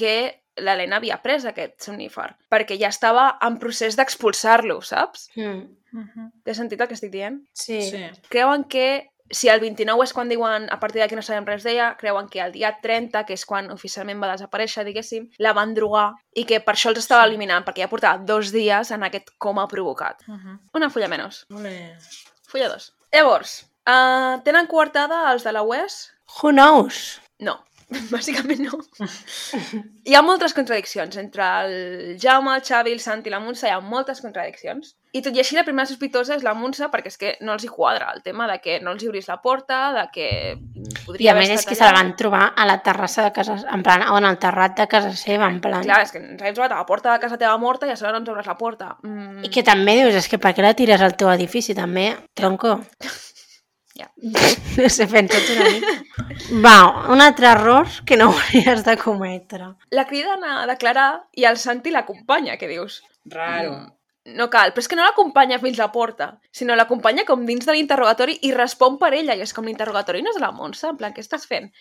que l'Helena havia pres aquest somnífer, perquè ja estava en procés d'expulsar-lo, saps? Mm, Mhm. Té sentit el que estic dient? sí. sí. Sí. creuen que si el 29 és quan diuen a partir d'aquí no sabem res d'ella, creuen que el dia 30, que és quan oficialment va desaparèixer, diguéssim, la van drogar i que per això els estava eliminant, perquè ja portava dos dies en aquest coma provocat. Mhm. Una fulla menys. Ole. Fulla dos. Llavors, uh, tenen coartada els de la E UES? Who knows? No, bàsicament no. Hi ha moltes contradiccions entre el Jaume, el Xavi, el Santi i la Montse, hi ha moltes contradiccions. I tot i així, la primera sospitosa és la Montse perquè és que no els hi quadra el tema de que no els hi obrís la porta, de que I podria a més és que se la van trobar a la terrassa de casa... En plan, o en el terrat de casa seva, en plan... Clar, és que ens hem trobat a la porta de casa teva morta i a sobre no ens obres la porta. Mm, I que també dius, és que per què la tires al teu edifici, també, tronco? Ja. No sé, penso tot una mica. Va, un altre error que no hauries de cometre. La criden a declarar i el Santi l'acompanya, que dius? Raro. No cal, però és que no l'acompanya fins la porta, sinó l'acompanya com dins de l'interrogatori i respon per ella, i és com l'interrogatori no és de la Montse, en plan, què estàs fent?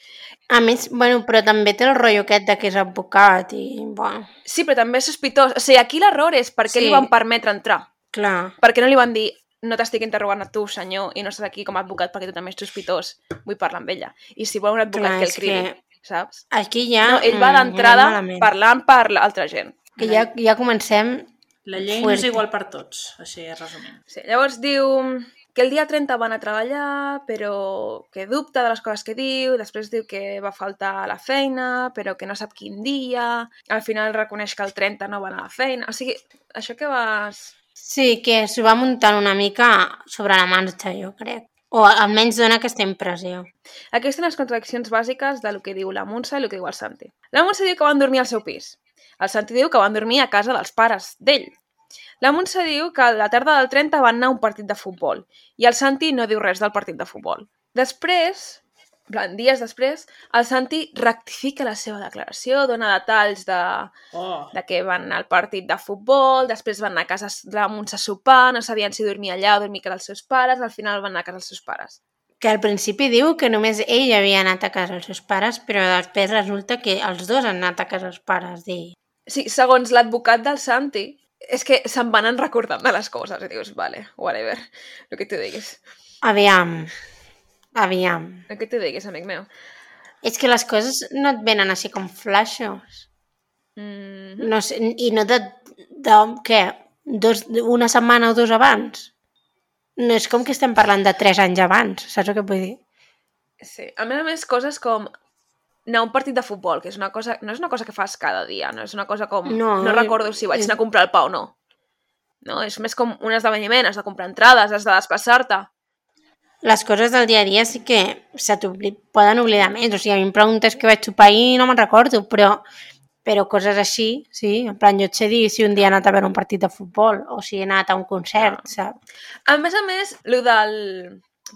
A més, bueno, però també té el rotllo aquest de que és advocat i, bueno, Sí, però també és sospitós. O sigui, aquí l'error és per què Sí. sí. li van permetre entrar. clar. Per què no li van dir no t'estic interrogant a tu, senyor, i no estàs aquí com a advocat perquè tu també ets sospitós. Vull parlar amb ella. I si vol un advocat Clar, que el és cridi, que- que... saps? Aquí ja... No, ell va mm, ja d'entrada malament. parlant per l'altra gent. Que ja, ja comencem... La llei no és Fuerte. igual per tots, així resumint. Sí, llavors diu que el dia 30 van a treballar, però que dubta de les coses que diu, després diu que va faltar a la feina, però que no sap quin dia, al final reconeix que el 30 no va anar a la feina, o sigui, això que vas... Sí, que s'ho va muntant una mica sobre la marxa, jo crec. O almenys dona aquesta impressió. Aquestes són les contradiccions bàsiques del que diu la Montse i el que diu el Santi. La Montse diu que van dormir al seu pis. El Santi diu que van dormir a casa dels pares d'ell. La Montse diu que la tarda del 30 van anar a un partit de futbol i el Santi no diu res del partit de futbol. Després, en plan, dies després, el Santi rectifica la seva declaració, dona detalls de, Oh. de que van anar al partit de futbol, després van anar a casa de la Montse a sopar, no sabien si dormir allà o dormir a casa dels seus pares, al final van anar a casa dels seus pares. Que al principi diu que només ell havia anat a casa dels seus pares, però després resulta que els dos han anat a casa dels pares d'ell. Sí, segons l'advocat del Santi, és que se'n van en recordant de les coses i dius, vale, whatever, el que tu diguis, Aviam, aviam. el que tu diguis, amic meu. És que les coses no et venen així com flashos. Mm No sé, I no de, de què? Dos, una setmana o dos abans? No és com que estem parlant de tres anys abans, saps el que vull dir? Sí, a més a més, coses com anar a un partit de futbol, que és una cosa, no és una cosa que fas cada dia, no és una cosa com... No, No, no jo- recordo si vaig jo- anar a comprar el pa o no. No, és més com un esdeveniment, has de comprar entrades, has de desplaçar-te. les coses del dia a dia sí que se t'obli- poden oblidar més. O sigui, a mi em preguntes què vaig sopar ahir i no me'n recordo, però, però coses així, sí. En plan, jo et sé dir si un dia he anat a veure un partit de futbol o si he anat a un concert, Ja. Ah. saps? A més a més, el del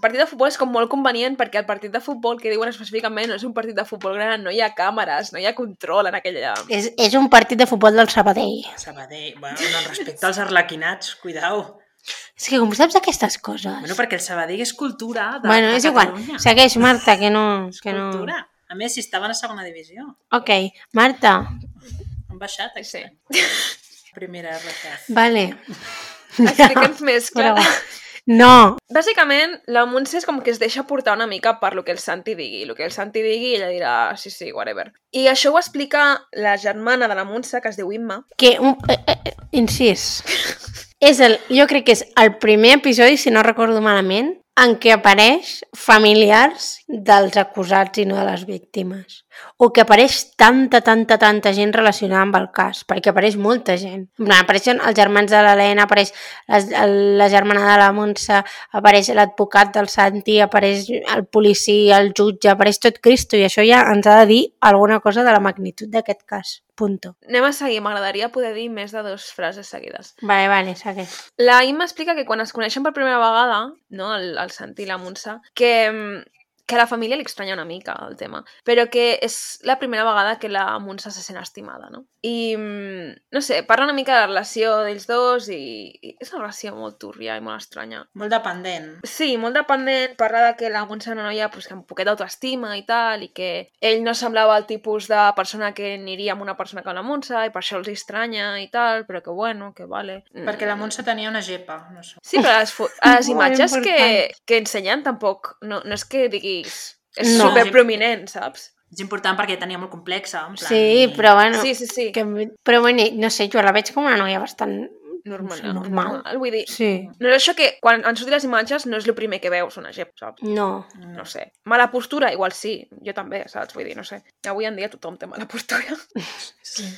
partit de futbol és com molt convenient perquè el partit de futbol que diuen específicament no és un partit de futbol gran, no hi ha càmeres, no hi ha control en aquella... És, és un partit de futbol del Sabadell. Sabadell. Bueno, no, respecte als arlequinats, cuidao. És que com saps aquestes coses? Bueno, perquè el Sabadell és cultura de, Bueno, de és igual. Catalunya. Segueix, Marta, que no... És Que no... cultura. A més, si estaven a segona divisió. Ok, Marta, Han baixat, aquest Sí. any. Primera RCF. vale. Explica'ns més, Però... Clara. No, Bàsicament, la Montse és com que es deixa portar una mica per lo que el Santi digui. Lo que el Santi digui, ella dirà, sí, sí, whatever. I això ho explica la germana de la Montse, que es diu Imma. que un, eh, eh, incís és el, jo crec que és el primer episodi, si no recordo malament, en què apareix familiars dels acusats i no de les víctimes. O que apareix tanta, tanta, tanta gent relacionada amb el cas, perquè apareix molta gent. En plan, Apareixen els germans de l'Helena, apareix les, el- la germana de la Montse, apareix l'advocat del Santi, apareix el policia, el jutge, apareix tot Cristo, i això ja ens ha de dir alguna cosa de la magnitud d'aquest cas. Punto. Anem a seguir, m'agradaria poder dir més de dues frases seguides. Vale, vale, segueix. La Imma explica que quan es coneixen per primera vegada, no, el, el Santi i la Montse, que, mm, que a la família li estranya una mica el tema, però que és la primera vegada que la Montse se sent estimada, no? I, mm, no sé, parla una mica de la relació d'ells dos i, i és una relació molt turbia i molt estranya. Molt dependent. Sí, molt dependent, parla de que la Montse era una noia pues, que amb poquet d'autoestima i tal, i que ell no semblava el tipus de persona que aniria amb una persona com la Montse, i per això els estranya i tal, però que bueno, que vale. Mm. Perquè la Montse tenia una gepa, no sé. Sí, però a les, fo- a Molt les imatges que, important. que ensenyen tampoc, no, no és que diguis... És No. no. superprominent, saps? És important perquè tenia molt complexa. En plan, Sí, i- però bueno... sí, sí, sí. Ah, Que, però bueno, no sé, jo la veig com una noia bastant... Normal. normal. Vull dir, Sí. no és això que quan han sortit les imatges no és el primer que veus una gep, saps? No. No sé. Mala postura? Igual sí. Jo també, saps? Vull dir, no sé. Avui en dia tothom té mala postura. Sí.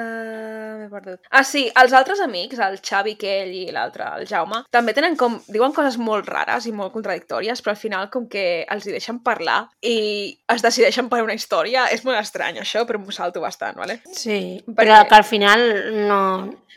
Uh, M'he perdut. Ah, sí, els altres amics, el Xavi, que ell i l'altre, el Jaume, també tenen com... Diuen coses molt rares i molt contradictòries, però al final com que els hi deixen parlar i es decideixen per una història. És molt estrany això, però m'ho salto bastant, vale? Sí, Perquè- però que al final no...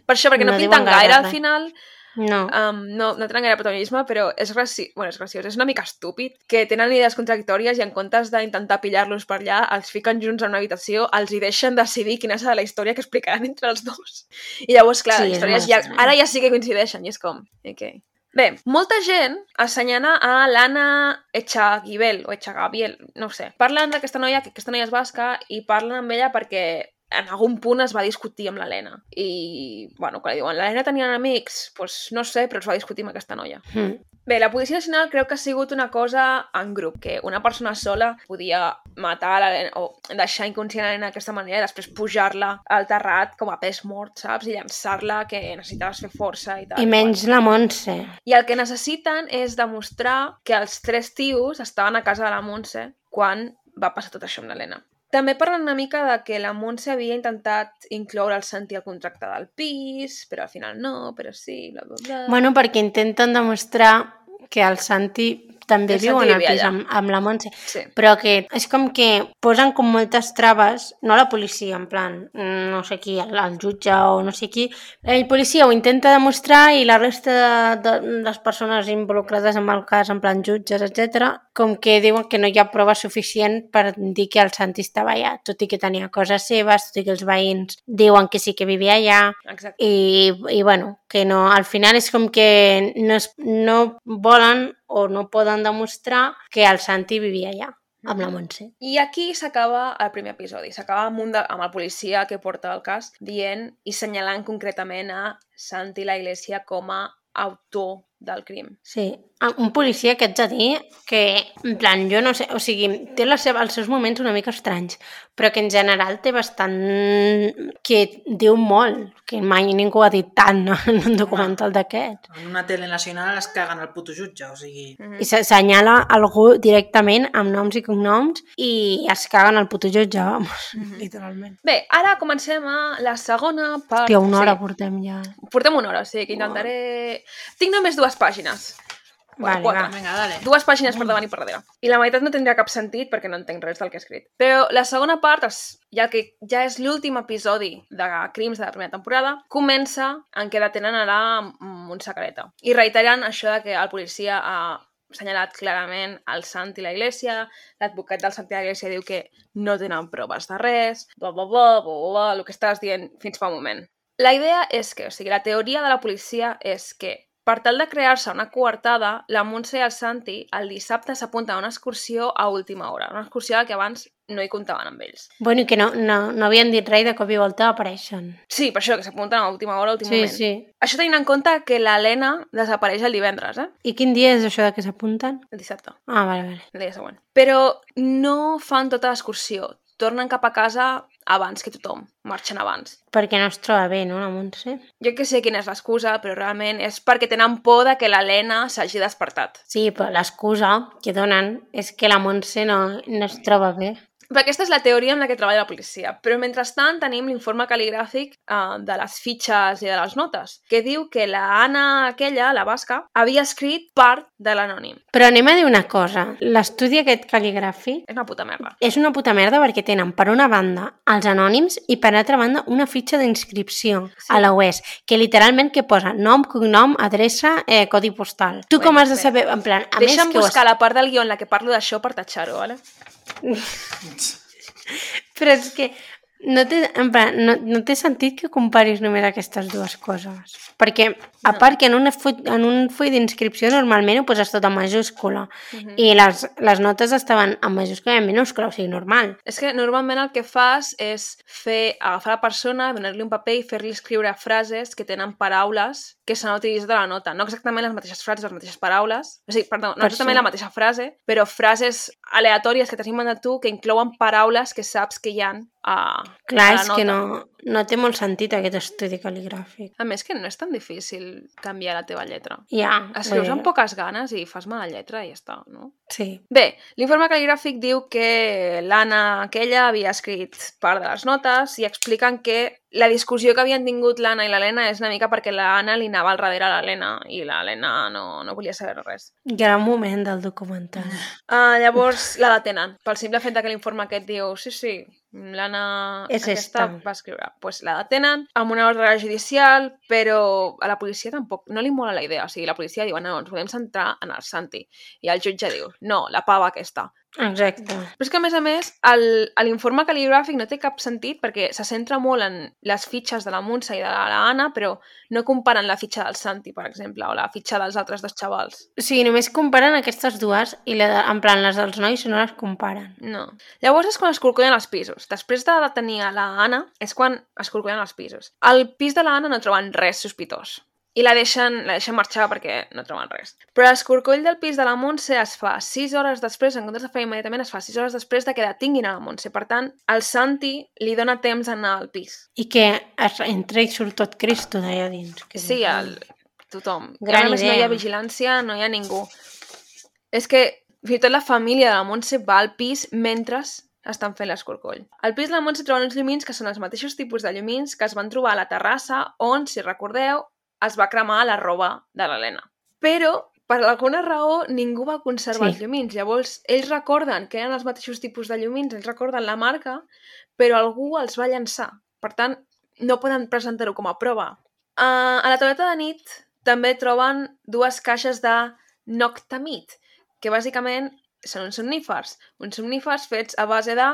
Per això, perquè no, No no diuen pinten gaire, gaire gaire al res. final, No. um, no, no tenen gaire protagonisme, però és graciós, bueno, és graciós, és una mica estúpid, que tenen idees contradictòries i en comptes d'intentar pillar-los per allà, els fiquen junts en una habitació, els hi deixen decidir quina serà la història que explicaran entre els dos. I llavors, clar, Sí, és sí, històries molt ja, estrany. ara ja sí que coincideixen, i és com... Okay. Bé, molta gent assenyala a l'Anna Echaguibel o Echagabiel, no ho sé. Parlen d'aquesta noia, que aquesta noia és basca, i parlen amb ella perquè en algun punt es va discutir amb l'Helena. I, bueno, quan li diuen, l'Helena tenia amics? Doncs pues, no sé, però es va discutir amb aquesta noia. Mm. Bé, la policia nacional creu que ha sigut una cosa en grup, que una persona sola podia matar l'Helena o deixar inconscient l'Helena d'aquesta manera i després pujar-la al terrat com a pes mort, saps? I llançar-la, que necessitaves fer força i tal. I menys la Montse. I el que necessiten és demostrar que els tres tios estaven a casa de la Montse quan va passar tot això amb l'Helena. També parlen una mica de que la Montse havia intentat incloure el Santi al contracte del pis, però al final no, però sí, bla, bla, bla... Bueno, perquè intenten demostrar que el Santi també El el viu Santi en el vivia pis allà. amb, amb la Montse. sí. Però que és com que posen com moltes traves, no la policia, en plan, mm, no sé qui, el, el jutge o no sé qui. El policia ho intenta demostrar i la resta de, de les persones involucrades amb el cas, en plan jutges, etc, com que diuen que no hi ha prova suficient per dir que el Santi estava allà, tot i que tenia coses seves, tot i que els veïns diuen que sí que vivia allà, Exacte. i, i bueno, que no, al final és com que no, es, no volen o no poden demostrar que el Santi vivia allà, amb la Montse. I aquí s'acaba el primer episodi. S'acaba amb, un de, amb el policia que porta el cas dient i senyalant concretament a Santi la Iglesia com a autor del crim. Sí, Ah, un policia que haig de dir que, en plan, jo no sé, o sigui, té la seva, els seus moments una mica estranys, però que en general té bastant... que diu molt, que mai ningú ha dit tant no, en un documental d'aquest. En una tele nacional es caguen el puto jutge, o sigui... I s'assenyala algú directament amb noms i cognoms i es caguen al puto jutge, vamos, literalment. Bé, ara comencem a la segona part. Hòstia, una hora Sí. portem ja. Portem una hora, sí, que intentaré... Tinc només dues pàgines. Vale, quatre. va. Vinga, dale. Dues pàgines per davant i per darrere. I la meitat no tindrà cap sentit perquè no entenc res del que he escrit. Però la segona part, es- ja que ja és l'últim episodi de Crims de la primera temporada, comença en què detenen a la Montse Careta. I reiteren això de que el policia ha assenyalat clarament el Sant i la Iglesia, l'advocat del Sant i la Iglesia diu que no tenen proves de res, bla, bla, bla, bla, bla, bla, el que estàs dient fins fa un moment. La idea és que, o sigui, la teoria de la policia és que per tal de crear-se una coartada, la Montse i el Santi el dissabte s'apunten a una excursió a última hora, una excursió a la que abans no hi comptaven amb ells. Bueno, i que no, no, no havien dit res i de cop i volta apareixen. Sí, per això, que s'apunten a última hora, a últim Sí, moment. sí. Això tenint en compte que l'Helena desapareix el divendres, eh? I quin dia és això de que s'apunten? El dissabte. Ah, vale, vale. el dia següent. Però no fan tota l'excursió. Tornen cap a casa abans que tothom. Marxen abans. Perquè no es troba bé, no, la Montse? Jo que sé quina és l'excusa, però realment és perquè tenen por de que l'Helena s'hagi despertat. Sí, però l'excusa que donen és que la Montse no, no es troba bé. Però aquesta és la teoria amb la que treballa la policia. Però mentrestant tenim l'informe cal·ligràfic eh, de les fitxes i de les notes, que diu que la Anna aquella, la basca, havia escrit part de l'anònim. Però anem a dir una cosa. L'estudi aquest cal·ligràfic És una puta merda. és una puta merda perquè tenen, per una banda, els anònims i, per altra banda, una fitxa d'inscripció Sí. sí. a la UES, que literalment que posa nom, cognom, adreça, eh, codi postal. Tu Bueno, com has de bé. saber, en plan, a Deixa'm més que ho buscar la part del guió en la que parlo d'això per tatxar-ho, vale? Però és que no té, en plan, no, no té sentit que comparis només aquestes dues coses. Perquè, a part que en, una full, en un full d'inscripció normalment ho poses tot en majúscula Mhm. i les, les notes estaven en majúscula i en minúscula, o sigui, normal. És que normalment el que fas és fer agafar la persona, donar-li un paper i fer-li escriure frases que tenen paraules que s'han utilitzat a la nota. No exactament les mateixes frases, les mateixes paraules. O sigui, perdó, no Per exactament això. la mateixa frase, però frases aleatòries que t'has inventat tu que inclouen paraules que saps que hi ha a, Clar, a la és nota. que no, no té molt sentit aquest estudi cal·ligràfic. A més, que no és tan difícil canviar la teva lletra. Ja, vull Escrius dir, amb poques ganes i fas mala lletra i ja està, no? Sí. Bé, l'informe cal·ligràfic diu que l'Anna aquella havia escrit part de les notes i expliquen que la discussió que havien tingut l'Anna i l'Helena és una mica perquè l'Anna li anava al darrere a l'Helena i l'Helena no, no volia saber res. Gran moment del documental. Uh, llavors la detenen, pel simple fet de que l'informe aquest diu sí, sí, l'Anna És aquesta esta. va escriure. Doncs pues la detenen amb una ordre judicial, però a la policia tampoc, no li mola la idea. O sigui, la policia diu, no, ens volem centrar en el Santi. I el jutge diu, no, la pava aquesta. Ah, Exacte. Però és que, a més a més, el- a l'informe cal·ligràfic no té cap sentit perquè se centra molt en les fitxes de la Montse i de la, la Anna, però no comparen la fitxa del Santi, per exemple, o la fitxa dels altres dos xavals. O sigui, només comparen aquestes dues i la de, en plan les dels nois no les comparen. No. Llavors és quan es corcollen els pisos. Després de detenir a la Anna és quan es corcollen els pisos. Al pis de la Anna no troben res sospitós. I la deixen, la deixen marxar perquè no troben res. Però l'escorcoll del pis de la Montse es fa 6 hores després, en comptes de fer immediatament, es fa 6 hores després de que detinguin a la Montse. Per tant, el Santi li dona temps a anar al pis. I que es, entra i surt tot Cristo d'allà dins. Que Sí, el... tothom. Gran Gran a més, no idea. hi ha vigilància, no hi ha ningú. És que fins i tot la família de la Montse va al pis mentre estan fent l'escorcoll. Al pis de la Montse troben uns llumins que són els mateixos tipus de llumins que es van trobar a la terrassa on, si recordeu, es va cremar la roba de l'Helena. Però, per alguna raó, ningú va Sí. conservar sí. els llumins. Llavors, ells recorden que eren els mateixos tipus de llumins, ells recorden la marca, però algú els va llançar. Per tant, no poden presentar-ho com a prova. Uh, a la tauleta de nit també troben dues caixes de noctamid, que bàsicament són uns somnífers. Uns somnífers fets a base de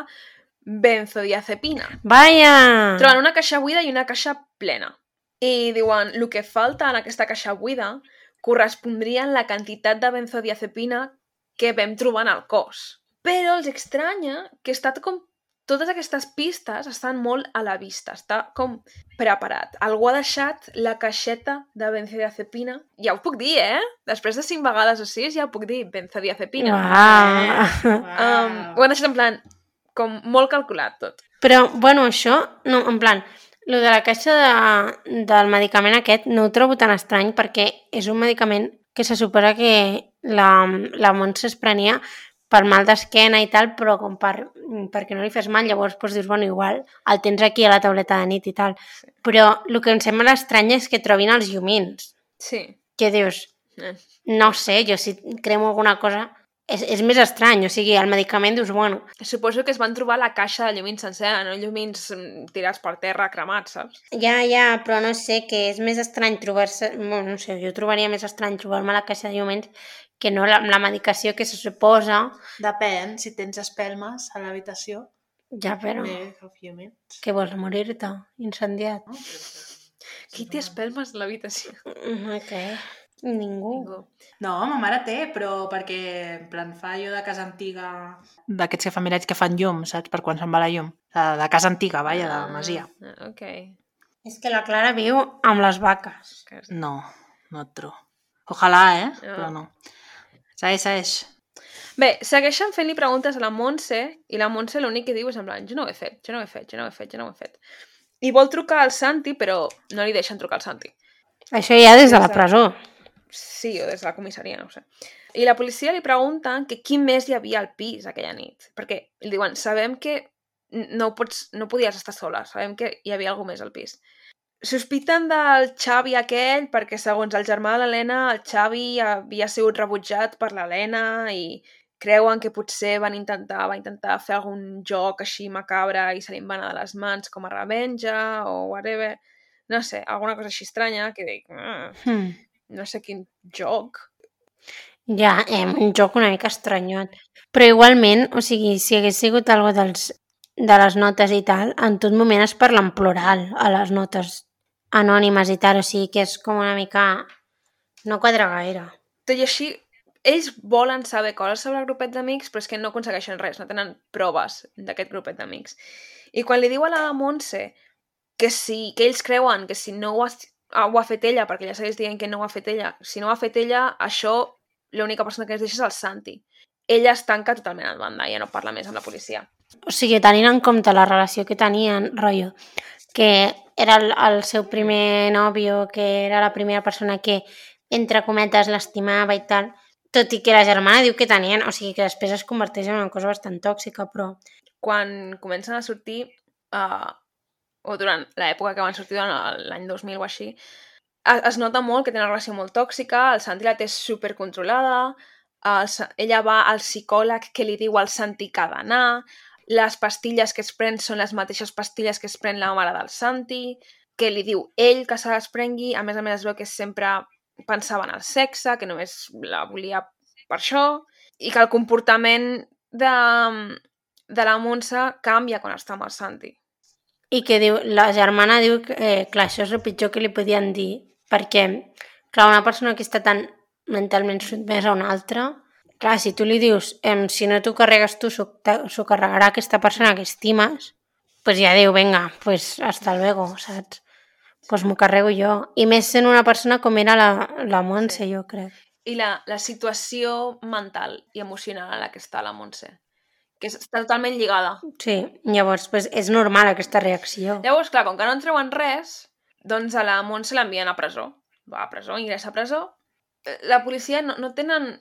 benzodiazepina. Vaya! Troben una caixa buida i una caixa plena. I diuen, el que falta en aquesta caixa buida correspondria en la quantitat de benzodiazepina que vam trobar en el cos. Però els estranya que està com... Totes aquestes pistes estan molt a la vista, està com preparat. Algú ha deixat la caixeta de benzodiazepina. Ja ho puc dir, eh? Després de cinc vegades o sis ja ho puc dir, benzodiazepina. Uau. Um, ho han deixat en plan, com molt calculat tot. Però, bueno, això, no, en plan, lo de la caixa de, del medicament aquest no ho trobo tan estrany perquè és un medicament que se suposa que la, la Montse es prenia per mal d'esquena i tal, però com per, perquè no li fes mal, llavors doncs, dius, bueno, igual el tens aquí a la tauleta de nit i tal. Però el que em sembla estrany és que trobin els llumins. Sí. que dius, Eh. no sé, jo si cremo alguna cosa... És, és més estrany, o sigui, el medicament dius, bueno, Suposo que es van trobar la caixa de llumins sencera, no llumins mm, tirats per terra, cremats, saps? ja, ja, però no sé, que és més estrany trobar-se... Bueno, no sé, jo trobaria més estrany trobar-me la caixa de llumins que no la, amb la medicació que se suposa, Depèn, si tens espelmes a l'habitació, ja, però... bé, òbviament. Que vols morir-te? Incendiat? No? Qui té espelmes a l'habitació? No sé. Ningú. Ningú. No, ma mare té, però perquè en plan fa allò de casa antiga... D'aquests que fan miralls que fan llum, saps? Per quan se'n va la llum. De, de casa antiga, vaja, de masia. Ah, ok. És que la Clara viu amb les vaques. No, no et trobo. Ojalà, eh? Ah. Però no. Segueix, segueix. Bé, segueixen fent-li preguntes a la Montse i la Montse l'únic que diu és en plan, jo no ho he fet, jo no ho he fet, jo no ho he fet, jo no ho he fet. I vol trucar al Santi, però no li deixen trucar al Santi. Això ja des de la Exacte. presó. Sí, o des de la comissaria, no ho sé. I la policia li pregunten que qui més hi havia al pis aquella nit. Perquè li diuen, sabem que n- no, pots, no podies estar sola, sabem que hi havia algú més al pis. Sospiten del Xavi aquell perquè, segons el germà de l'Helena, el Xavi havia sigut rebutjat per l'Helena i creuen que potser van intentar, va intentar fer algun joc així macabre i se li van anar de les mans com a revenja o whatever. No sé, alguna cosa així estranya que dic... "Mm" Hmm. no sé quin joc. Ja, eh, un joc una mica estranyot. Però igualment, o sigui, si hagués sigut algo dels, de les notes i tal, en tot moment es parla en plural a les notes anònimes i tal, o sigui que és com una mica... no quadra gaire. Tot i així, ells volen saber coses sobre el grupet d'amics, però és que no aconsegueixen res, no tenen proves d'aquest grupet d'amics. I quan li diu a la Montse que, si, que ells creuen que si no ho ha, ah, ho ha fet ella, perquè ja segueix dient que no ho ha fet ella, si no ho ha fet ella, això l'única persona que es deixa és el Santi. Ella es tanca totalment al banda, ja no parla més amb la policia. O sigui, tenint en compte la relació que tenien, rotllo, que era el, el seu primer nòvio, que era la primera persona que, entre cometes, l'estimava i tal, tot i que la germana diu que tenien, o sigui que després es converteix en una cosa bastant tòxica, però quan comencen a sortir, uh, o durant l'època que van sortir, durant l'any 2000 o així, es, es nota molt que té una relació molt tòxica, el Santi la té supercontrolada, el, Sa- ella va al psicòleg que li diu al Santi que ha d'anar, les pastilles que es pren són les mateixes pastilles que es pren la mare del Santi, que li diu ell que se les prengui, a més a més es veu que sempre pensava en el sexe, que només la volia per això, i que el comportament de, de la Montse canvia quan està amb el Santi. I que diu, la germana diu que, eh, clar, això és el pitjor que li podien dir, perquè, clar, una persona que està tan mentalment sotmesa a una altra, clar, si tu li dius, em, si no t'ho carregues tu, s'ho te- s'ho carregarà aquesta persona que estimes, pues ja diu, venga, pues hasta luego, saps? Pues m'ho carrego jo. I més sent una persona com era la, la Montse, Sí. jo crec. I la, la situació mental i emocional en la que està la Montse, que és- està totalment lligada. Sí, llavors, pues, és normal aquesta reacció. Llavors, clar, com que no en treuen res, doncs a la Montse l'envien a presó. Va a presó, ingressa a presó. Eh, La policia no, no tenen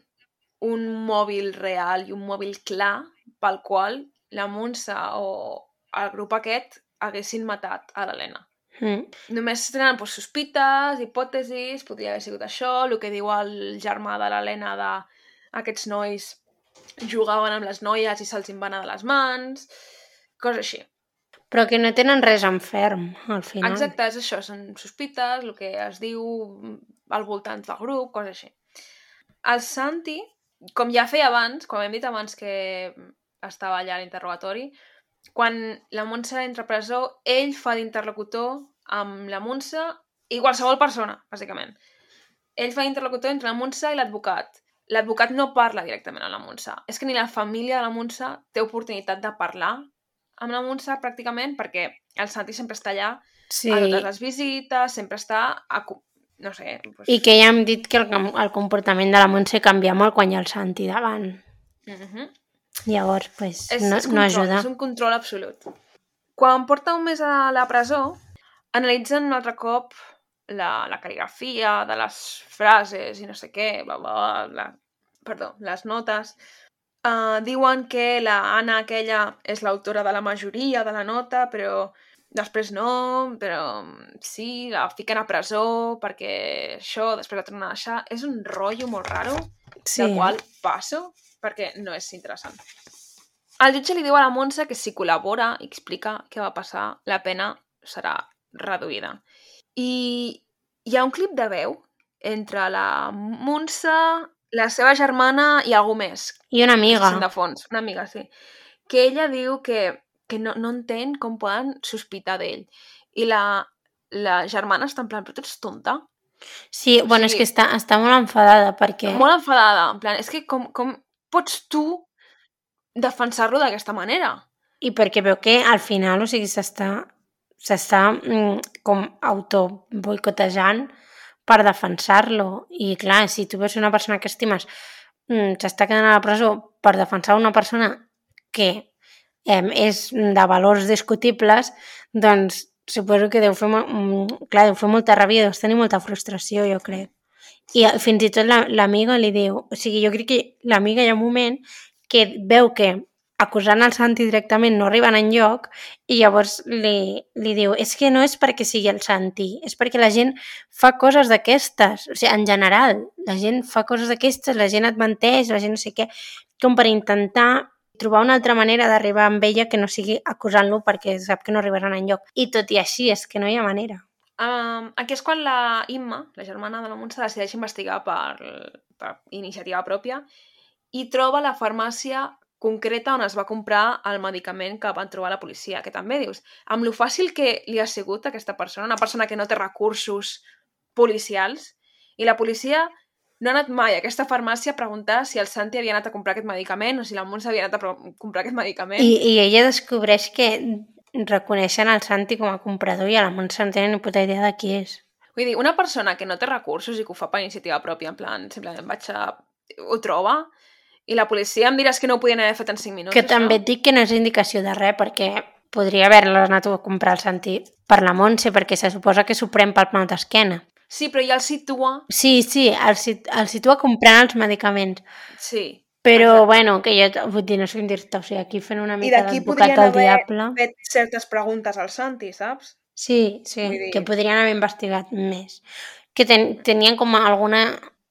un mòbil real i un mòbil clar pel qual la Montse o el grup aquest haguessin matat a l'Helena. Mm. Només tenen doncs, sospites, hipòtesis, podria haver sigut això, el que diu el germà de l'Helena de aquests nois jugaven amb les noies i se'ls en va anar de les mans, coses així. Però que no tenen res en ferm, al final. Exacte, és això, són sospites, el que es diu mm, al voltant del grup, coses així. El Santi, com ja feia abans, com hem dit abans que estava allà a l'interrogatori, quan la Montse entra a presó, ell fa d'interlocutor amb la Montse i qualsevol persona, bàsicament. Ell fa d'interlocutor entre la Montse i l'advocat. L'advocat no parla directament amb la Montse. És que ni la família de la Montse té oportunitat de parlar amb la Montse, pràcticament, perquè el Santi sempre està allà Sí. a totes les visites, sempre està a... co- no sé, doncs... I que ja hem dit que el, com- el comportament de la Montse canvia molt quan hi ha el Santi davant. Mhm. Llavors, pues, és, no, és no control, ajuda. És un control absolut. Quan porta un mes a la presó, analitzen un altre cop la, la cal·ligrafia de les frases i no sé què, bla, bla, bla, la, perdó, les notes. Uh, diuen que la Anna aquella és l'autora de la majoria de la nota, però després no, però mm, sí, la fiquen a presó perquè això, després la tornen a deixar. És un rotllo molt raro sí. del qual passo perquè no és interessant. El jutge li diu a la Montse que si col·labora i explica què va passar, la pena serà reduïda. I hi ha un clip de veu entre la Montse, la seva germana i algú més, I una amiga. amiga. de fons, una amiga, sí. Que ella diu que, que no, no entén com poden sospitar d'ell. I la, la germana està en plan, però tu ets tonta? Sí, bueno, és sigui- que està, està molt enfadada perquè... Molt enfadada, en plan, és que com, com pots tu defensar-lo d'aquesta manera? I perquè veu que al final, o sigui, s'està s'està mm, com auto boicotejant per defensar-lo. I clar, si tu veus una persona que estimes mm, s'està quedant a la presó per defensar una persona que eh, és de valors discutibles, doncs suposo que deu fer, mo- mm, clar, deu fer molta ràbia, deu tenir molta frustració, jo crec. I eh, fins i tot la- l'amiga li diu... O sigui, jo crec que l'amiga hi ha un moment que veu que acusant el Santi directament no arriben en lloc i llavors li, li diu és que no és perquè sigui el Santi, és perquè la gent fa coses d'aquestes, o sigui, en general, la gent fa coses d'aquestes, la gent et menteix, la gent no sé què, com per intentar trobar una altra manera d'arribar amb ella que no sigui acusant-lo perquè sap que no arribaran en lloc. I tot i així, és que no hi ha manera. Um, aquí és quan la Imma, la germana de la Montse, decideix investigar per, per iniciativa pròpia i troba la farmàcia concreta on es va comprar el medicament que van trobar la policia, que també dius, amb lo fàcil que li ha sigut a aquesta persona, una persona que no té recursos policials, i la policia no ha anat mai a aquesta farmàcia a preguntar si el Santi havia anat a comprar aquest medicament o si la Montse havia anat a pro- comprar aquest medicament. I, I ella descobreix que reconeixen el Santi com a comprador i a la Montse no tenen ni puta idea de qui és. Vull dir, una persona que no té recursos i que ho fa per iniciativa pròpia, en plan, simplement vaig a... ho troba, i la policia em diràs que no ho podien haver fet en 5 minuts. que això. també et dic que no és indicació de res, perquè podria haver-la anat a comprar el Santi per la Montse, perquè se suposa que s'ho pren pel plau d'esquena. Sí, però ja el situa... Sí, sí, el, sit- el situa comprant els medicaments. Sí. Però, Exacte. bueno, que jo vull dir, no sé com dir-te, o sigui, aquí fent una I mica d'aquí d'advocat podrien al haver diable... fet certes preguntes al Santi, saps? Sí, sí, Vull dir- que podrien haver investigat més. Que ten, tenien com a alguna,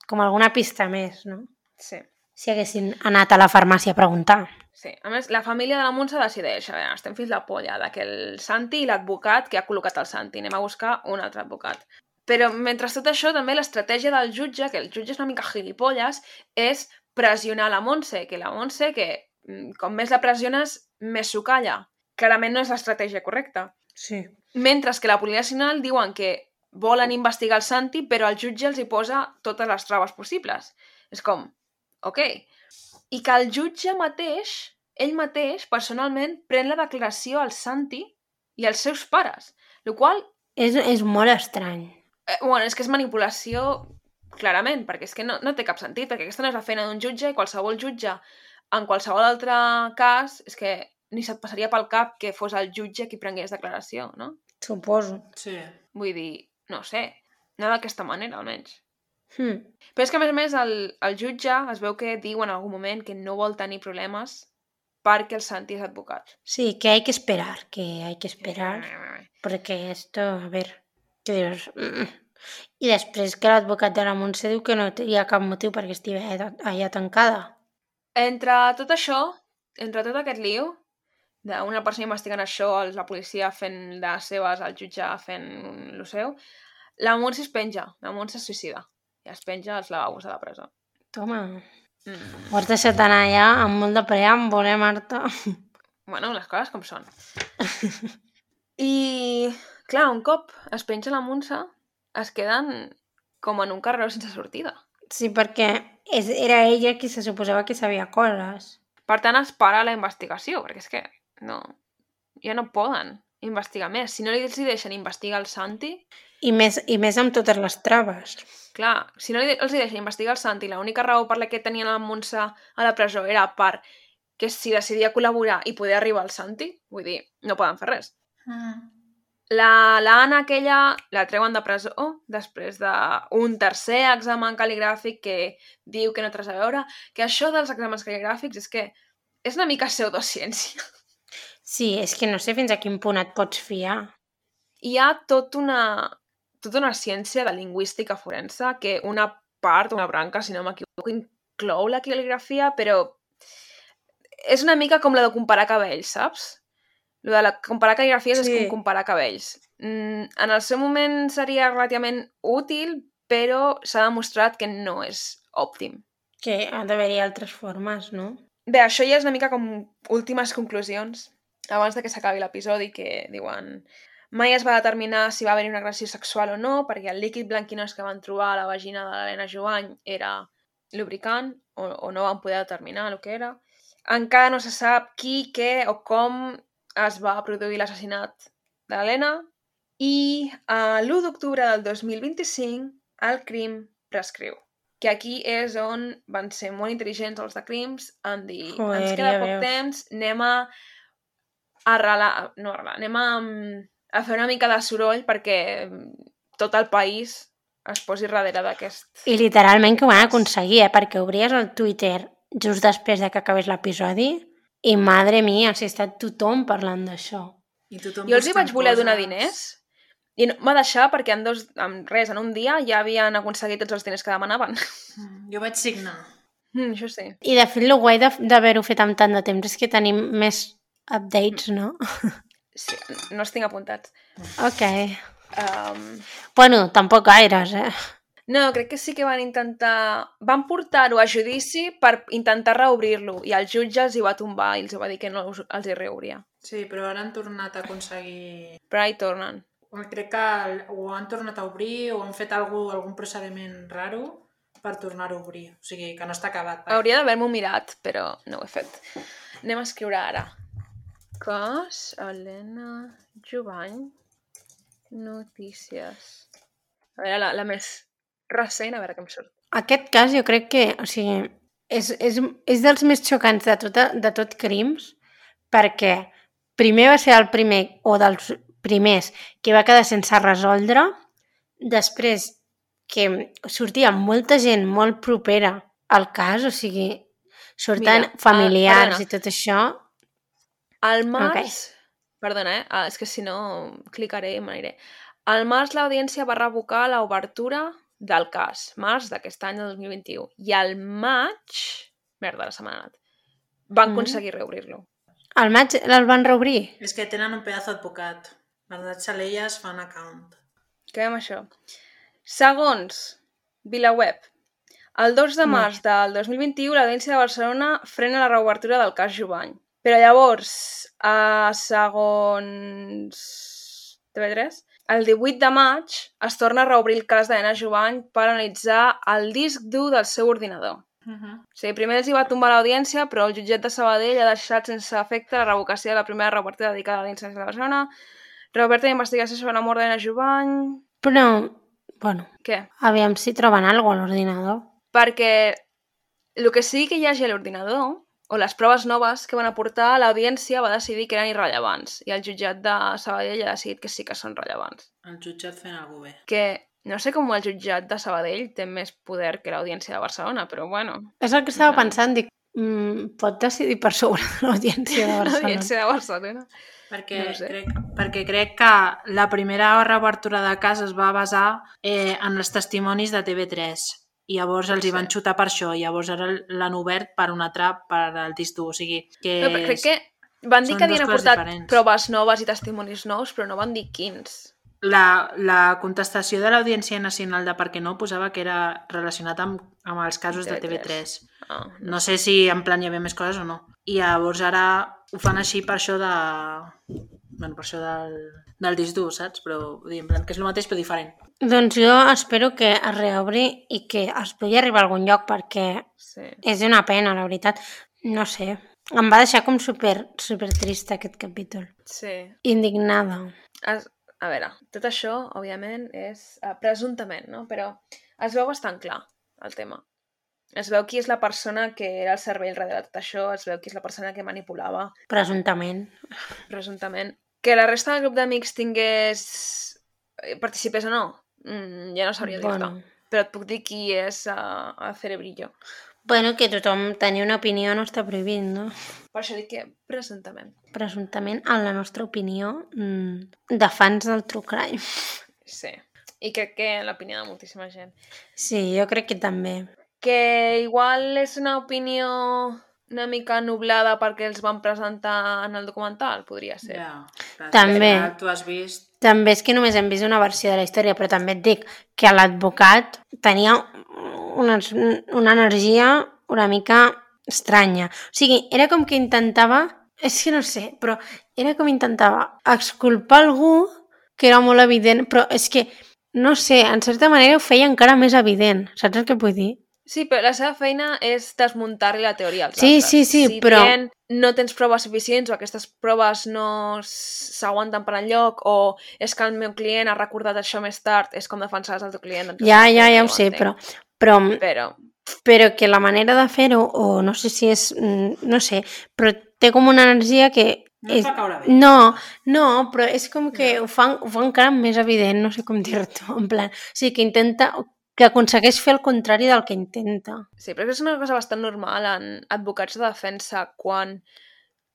com a alguna pista més, no? Sí. Si haguessin anat a la farmàcia a preguntar. Sí. A més, la família de la Montse decideix, a veure, estem fins la polla d'aquell Santi i l'advocat que ha col·locat el Santi. Anem a buscar un altre advocat. Però, mentre tot això, també l'estratègia del jutge, que el jutge és una mica gilipolles, és pressionar la Montse, que la Montse, que mm, com més la pressiones, més s'ho calla. Clarament no és l'estratègia correcta. Sí. Mentre que la Policia Nacional diuen que volen investigar el Santi, però el jutge els hi posa totes les traves possibles. És com, ok. I que el jutge mateix, ell mateix, personalment, pren la declaració al Santi i als seus pares. Lo qual, És, és molt estrany. eh, bueno, és que és manipulació clarament, perquè és que no, no té cap sentit, perquè aquesta no és la feina d'un jutge i qualsevol jutge en qualsevol altre cas és que ni se't passaria pel cap que fos el jutge qui prengués declaració, no? Suposo. Sí. Vull dir, no ho sé, no d'aquesta manera, almenys. Hm. Però és que, a més a més, el, el jutge es veu que diu en algun moment que no vol tenir problemes perquè el Santi és advocat. Sí, que hay que esperar, que hay que esperar, perquè esto, a ver, que dius... "Mm". I després que l'advocat de la Montse diu que no hi ha cap motiu perquè estigui allà- allà tancada. Entre tot això, entre tot aquest liu, d'una persona investigant això, el- la policia fent les seves, el jutge fent el seu, la Montse es penja, la Montse es suïcida. I es penja als lavabos de la presó. Toma, Mm. ho has deixat anar allà amb molt de preàmbul, eh, Marta? Bueno, les coses com són. I, clar, un cop es penja la Montse, es queden com en un carreró sense sortida. Sí, perquè és, era ella qui se suposava que sabia coses. Per tant, es para la investigació, perquè és que no, ja no poden investigar més. Si no li els hi deixen investigar el Santi, I més, I més amb totes les traves. clar, si no li de- els hi deixen investigar el Santi, l'única raó per la que tenien la Montse a la presó era per que si decidia col·laborar i poder arribar al Santi, vull dir, no poden fer res. La, la Anna aquella la treuen de presó després d'un tercer examen cal·ligràfic que diu que no té res a veure, que això dels exàmens cal·ligràfics és que és una mica pseudociència. Sí, és que no sé fins a quin punt et pots fiar. hi ha tot una, tota una ciència de lingüística forense que una part, una branca, si no m'equivoco, inclou la cal·ligrafia, però és una mica com la de comparar cabells, saps? Lo de la, comparar cal·ligrafies sí. és Sí. com comparar cabells. Mm, en el seu moment seria relativament útil, però s'ha demostrat que no és òptim. Que ha d'haver-hi altres formes, no? Bé, això ja és una mica com últimes conclusions abans de que s'acabi l'episodi que diuen mai es va determinar si va haver una agressió sexual o no perquè el líquid blanquinós que van trobar a la vagina de l'Helena Joany era lubricant o, o no van poder determinar el que era. Encara no se sap qui, què o com es va produir l'assassinat de l'Helena i a l'1 d'octubre del 2025 el crim prescriu que aquí és on van ser molt intel·ligents els de crims, en dir, Joder, ens queda ja poc veus. temps, anem a arrelar, no arrelar, anem a, mm, a fer una mica de soroll perquè mm, tot el país es posi darrere d'aquest... I literalment que ho van aconseguir, eh? Perquè obries el Twitter just després de que acabés l'episodi i, madre mia, s'ha estat tothom parlant d'això. I tothom doncs Jo els hi buscant vaig voler donar coses. diners i no, m'ha deixar perquè en dos, en res, en un dia ja havien aconseguit tots els diners que demanaven. Mm, Jo vaig signar. Mm, això sí. I, de fet, el guai de- d'haver-ho fet amb tant de temps és que tenim més updates, no? sí. No els tinc apuntats. Ok. Um, Bueno, tampoc gaires, eh? no, crec que sí que van intentar... Van portar-ho a judici per intentar reobrir-lo i el jutge els hi va tombar i els va dir que no us- els hi reobria. Sí, però ara han tornat a aconseguir... Però ara hi tornen. Crec que el- ho han tornat a obrir o han fet algú, algun procediment raro per tornar-ho a obrir. O sigui, que no està acabat. vaja. Hauria d'haver-m'ho mirat, però no ho he fet. Anem a escriure ara. Cos, Helena, Jovany, notícies. A veure, la, la més recent, a veure què em surt. Aquest cas jo crec que, o sigui, és, és, és dels més xocants de tot, de tot crims, perquè primer va ser el primer, o dels primers, que va quedar sense resoldre, després que sortia molta gent molt propera al cas, o sigui, surten Mira, Mira, familiars ah, i tot això. Al març... Perdona, eh? Ah, és que si no clicaré i m'aniré. Al març l'audiència va revocar l'obertura del cas, març d'aquest any del 2021. I al maig, merda, la setmana anat, van Mhm. aconseguir reobrir-lo. Al maig el van reobrir. És que tenen un pedazo d'advocat. Bernat Salelles fan account. Què amb això? Segons VilaWeb, el 2 de Molt març del 2021 l'Audiència de Barcelona frena la reobertura del cas Jovany. Però llavors, a segons TV3, el 18 de maig es torna a reobrir el cas d'Helena Jovany per analitzar el disc dur del seu ordinador. Uh -huh. O sigui, primer els hi va tombar l'audiència, però el jutjat de Sabadell ha deixat sense efecte la revocació de la primera reobertura dedicada a l'audiència de Barcelona, reoberta d'investigació sobre la mort d'Helena Jovany... Però, bueno, Què? aviam si troben alguna cosa a l'ordinador. perquè el que sigui que hi hagi a l'ordinador o les proves noves que van aportar, l'audiència va decidir que eren irrellevants i el jutjat de Sabadell ha decidit que sí que són rellevants. El jutjat fent algú bé. Que no sé com el jutjat de Sabadell té més poder que l'audiència de Barcelona, però bueno, És el que estava Ja. pensant, dic, mm, pot decidir per sobre de l'audiència de Barcelona. l'audiència de Barcelona. Perquè, No no ho sé. crec, perquè crec que la primera reobertura de cas es va basar eh, en els testimonis de TV3. I llavors els hi van Sí. xutar per això. I llavors ara l'han obert per una trap per al disc dur. O sigui, que... No, però crec que van dir Eh, són que havien dues coses aportat diferents. proves noves i testimonis nous, però no van dir quins. la, la contestació de l'Audiència Nacional de Per què no posava que era relacionat amb, amb els casos de TV3. TV3. Ah, No sé si en plan hi havia més coses o no. I llavors ara ho fan així per això de... Bueno, per això del, del disc dur, saps? Però vull dir, en plan, que és el mateix però diferent. Doncs jo espero que es reobri i que es pugui arribar a algun lloc perquè sí. és una pena, la veritat. No sé, em va deixar com super, super trista aquest capítol. sí. Indignada. es, a veure, tot això, òbviament, és eh, presumptament, no? Però es veu bastant clar, el tema. Es veu qui és la persona que era el cervell darrere de tot això, es veu qui és la persona que manipulava Presumptament. presumptament. Que la resta del grup d'amics tingués... eh, participés o no, mm, ja no sabria dir-te. Bueno. Però et puc dir qui és uh, el cerebrillo. bueno, que tothom tenir una opinió no està prohibit, no? Per això dic que presumptament. Presumptament, en la nostra opinió, mm, de fans del true crime. Sí. I crec que l'opinió de moltíssima gent. Sí, jo crec que també. que igual és una opinió una mica nublada perquè els van presentar en el documental, podria ser. Yeah. clar, També. al final Tu has vist... També és que només hem vist una versió de la història, però també et dic que l'advocat tenia una, una energia una mica estranya. O sigui, era com que intentava... És que no sé, però era com intentava exculpar algú que era molt evident, però és que, no sé, en certa manera ho feia encara més evident. Saps el que vull dir? Sí, però la seva feina és desmuntar-li la teoria als Sí, altres. sí, sí, si però- dient no tens proves suficients o aquestes proves no s- s'aguanten per enlloc o és que el meu client ha recordat això més tard, és com defensaràs el teu client. Doncs Ja, no ja, ja ho entenc. sé, però, però, Però, però que la manera de fer-ho, o no sé si és, mm, no sé, però té com una energia que No ens va caure bé. No, no, però és com que ho fan, ho fan encara més evident, no sé com dir-t'ho, en plan... O sigui, que intenta... que aconsegueix fer el contrari del que intenta. Sí, però és una cosa bastant normal en advocats de defensa quan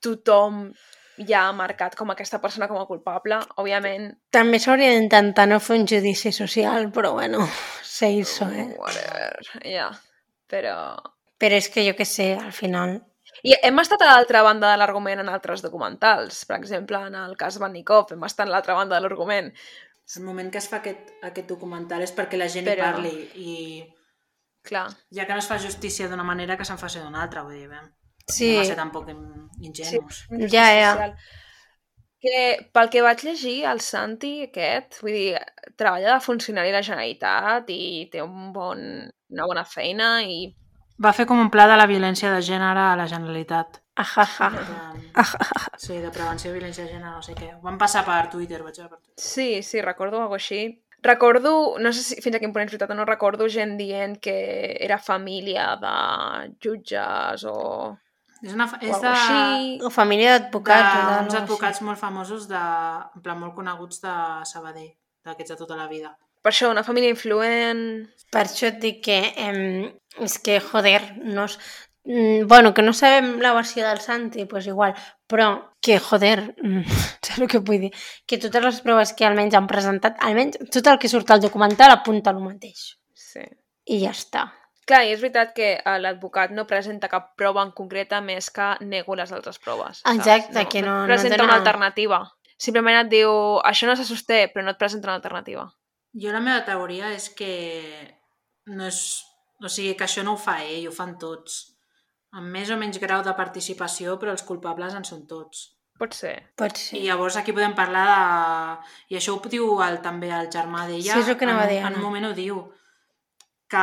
tothom ja ha marcat com aquesta persona com a culpable. Òbviament, També s'hauria d'intentar no fer un judici social, però bueno, se hizo, eh? whatever, ja. Però... Però és que jo que sé, al final... I hem estat a l'altra banda de l'argument en altres documentals. Per exemple, en el cas Vannikov hem estat a l'altra banda de l'argument. El moment que es fa aquest, aquest documental és perquè la gent Però- Però... parli i Clar. ja que no es fa justícia d'una manera que se'n faci d'una altra, vull dir, bé, Sí, no va ser tampoc in- ingenus. Sí. Justícia Ja, ja. social. Que pel que vaig llegir, el Santi aquest, vull dir, treballa de funcionari de la Generalitat i té un bon, una bona feina i... Va fer com un pla de la violència de gènere a la Generalitat. ajaja. De, sí, de prevenció de violència de gènere, no sé què. Ho Van passar per Twitter, vaig veure per Twitter. Sí, sí, recordo alguna així. Recordo, no sé si, fins a quin punt és veritat o no, recordo gent dient que era família de jutges o, o És, una, fa- és alguna de, així. O família d'advocats. o de, d'algo uns així. advocats molt famosos, de, en plan, molt coneguts de Sabadell, d'aquests de tota la vida. Per això, una família influent... Per això et dic que... Eh, és que, joder, no... És... mm, Bueno, que no sabem la versió del Santi, pues igual, però que, joder, mm, saps el que vull dir? Que totes les proves que almenys han presentat, almenys tot el que surt al documental apunta el mateix. Sí. I ja està. Clar, i és veritat que eh, l'advocat no presenta cap prova en concreta més que nego les altres proves. saps? Exacte, que no- no presenta dona- una alternativa. Simplement et diu, això no se sosté, però no et presenta una alternativa. Jo la meva teoria és que no és... O sigui, que això no ho fa ell, ho fan tots. Amb més o menys grau de participació, però els culpables en són tots. Pot ser. Pot I ser. llavors aquí podem parlar de... I això ho diu el, també el germà d'ella. Sí, és el que anava en, a dir, En Anna. un moment ho diu, que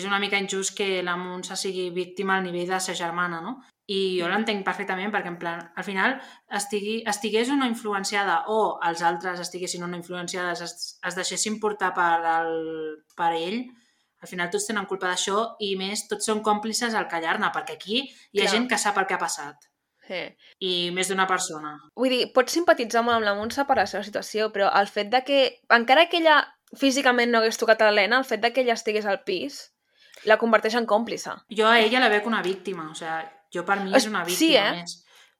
és una mica injust que la Montse sigui víctima al nivell de sa germana, no? I jo l'entenc perfectament perquè, en plan, al final estigui, estigués una influenciada o els altres estiguessin una influenciades, es, es deixessin portar per, el, per ell, al final tots tenen culpa d'això i més tots són còmplices al callar-ne, perquè aquí hi ha Clar. gent que sap el que ha passat Sí. i més d'una persona. Vull dir, pots simpatitzar molt amb la Montse per la seva situació, però el fet de que, encara que ella físicament no hagués tocat a l'Helena, el fet de que ella estigués al pis la converteix en còmplice. Jo a ella la veig una víctima, o sigui, jo per mi Es- és una sí, víctima eh? més.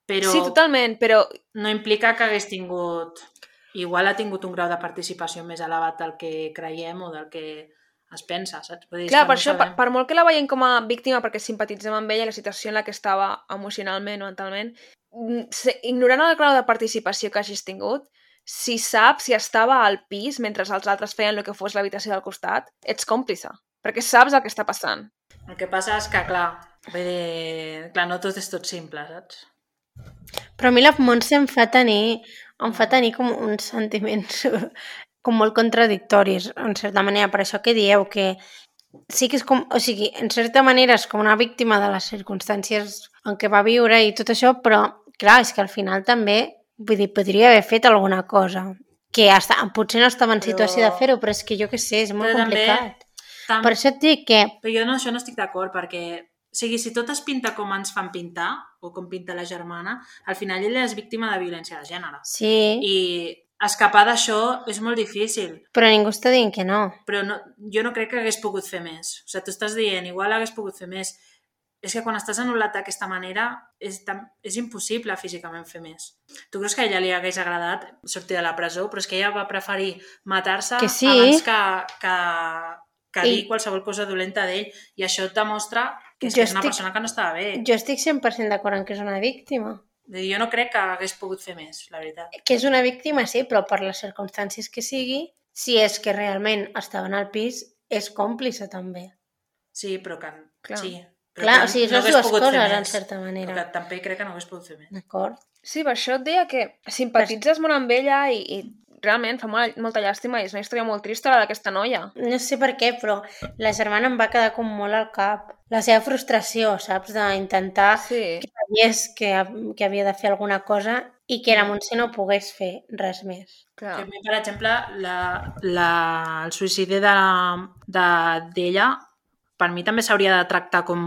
Però Sí, totalment, però no implica que hagués tingut... Igual ha tingut un grau de participació més elevat del que creiem o del que es pensa, saps? Vull dir, clar, és que per no això, per, sabem. per molt que la veiem com a víctima perquè simpatitzem amb ella i la situació en la que estava emocionalment o mentalment, mm, se- ignorant el grau de participació que hagis tingut, si saps si estava al pis mentre els altres feien el que fos l'habitació del costat, ets còmplice, perquè saps el que està passant. El que passa és que, clar, vull dir, clar, no tot és tot simple, saps? Però a mi la Montse em fa tenir, em fa tenir com uns sentiments com molt contradictoris, en certa manera, per això que dieu que sí que és com, o sigui, en certa manera és com una víctima de les circumstàncies en què va viure i tot això, però clar, és que al final també, vull dir, podria haver fet alguna cosa que hasta, potser no estava en Però- situació de fer-ho, però és que jo que sé, és molt Però també- complicat. Tam... Per això et dic que Però jo no, això no estic d'acord, perquè o sigui, si tot es pinta com ens fan pintar, o com pinta la germana, al final ella és víctima de violència de gènere. sí, I escapar d'això és molt difícil. però ningú està dient que no. però no, jo no crec que hagués pogut fer més. O sigui, tu estàs dient, igual hagués pogut fer més. És que quan estàs anul·lat d'aquesta manera és, tan, és impossible físicament fer més. Tu creus que a ella li hagués agradat sortir de la presó, però és que ella va preferir matar-se Que sí. abans que, que, que I- dir qualsevol cosa dolenta d'ell. I això et demostra que és, Jo que és una estic- persona que no estava bé. Jo... Jo estic 100% d'acord en que és una víctima. jo no crec que hagués pogut fer més, la veritat. que és una víctima, sí, però per les circumstàncies que sigui, si és que realment estaven al pis, és còmplice també. Sí, però que... Clar. Sí, però Clar, que o sigui, no són hagués dues pogut fer coses, en més. certa Però manera. que també crec que no hagués pogut fer més. D'acord? Sí, per això et deia que simpatitzes molt amb ella i, i realment fa molt, molta llàstima i és una història molt trista la d'aquesta noia. No sé per què, però la germana em va quedar com molt al cap. La seva frustració, saps? D'intentar Ah, Sí, que veiés que, que havia de fer alguna cosa i que la Montse no pogués fer res més. clar. Que a mi, per exemple, la, la, el suïcidi d'ella, de, d'ella, per mi també s'hauria de tractar com,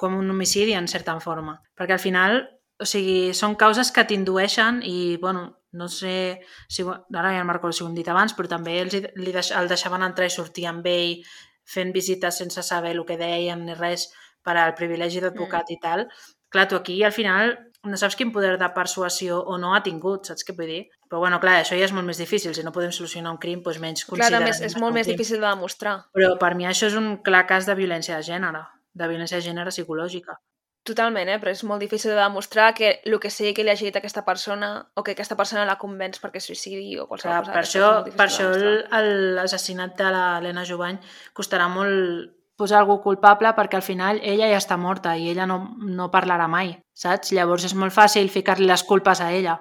com un homicidi, en certa forma. Perquè al final O sigui, són causes que t'indueixen i, bueno, no sé si... Ara ja el Marco ho hem dit abans, però també els, hi- li deix, el deixaven entrar i sortir amb ell fent visites sense saber el que deien ni res per al privilegi d'advocat mm. i tal. Clar, tu aquí al final no saps quin poder de persuasió o no ha tingut, saps què vull dir? Però bueno, clar, això ja és molt més difícil. Si no podem solucionar un crim, doncs menys Clar, a considerem... més, és molt un més crim. difícil de demostrar. Però per mi això és un clar cas de violència de gènere, de violència de gènere psicològica. Totalment, eh? però és molt difícil de demostrar que el que sigui que li hagi dit a aquesta persona o que aquesta persona la convenç perquè es suïcidi o qualsevol Clar, cosa. per això, d'aquestes és molt per difícil això de el- demostrar. el- l'assassinat de l'Helena Jovany costarà molt posar algú culpable perquè al final ella ja està morta i ella no, no parlarà mai, saps? Llavors és molt fàcil ficar-li les culpes a ella,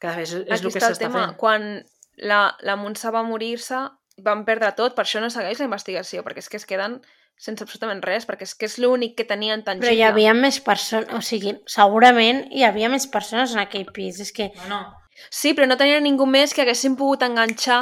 que de fet és, és Aquí el que està el s'està tema. fent. Quan la, la Montse va morir-se, van perdre tot, per això no segueix la investigació, perquè és que es queden sense absolutament res, perquè és que és l'únic que tenien tangible. Però hi havia més persones, o sigui, segurament hi havia més persones en aquell pis. És que No, no. Sí, però no tenien ningú més que haguessin pogut enganxar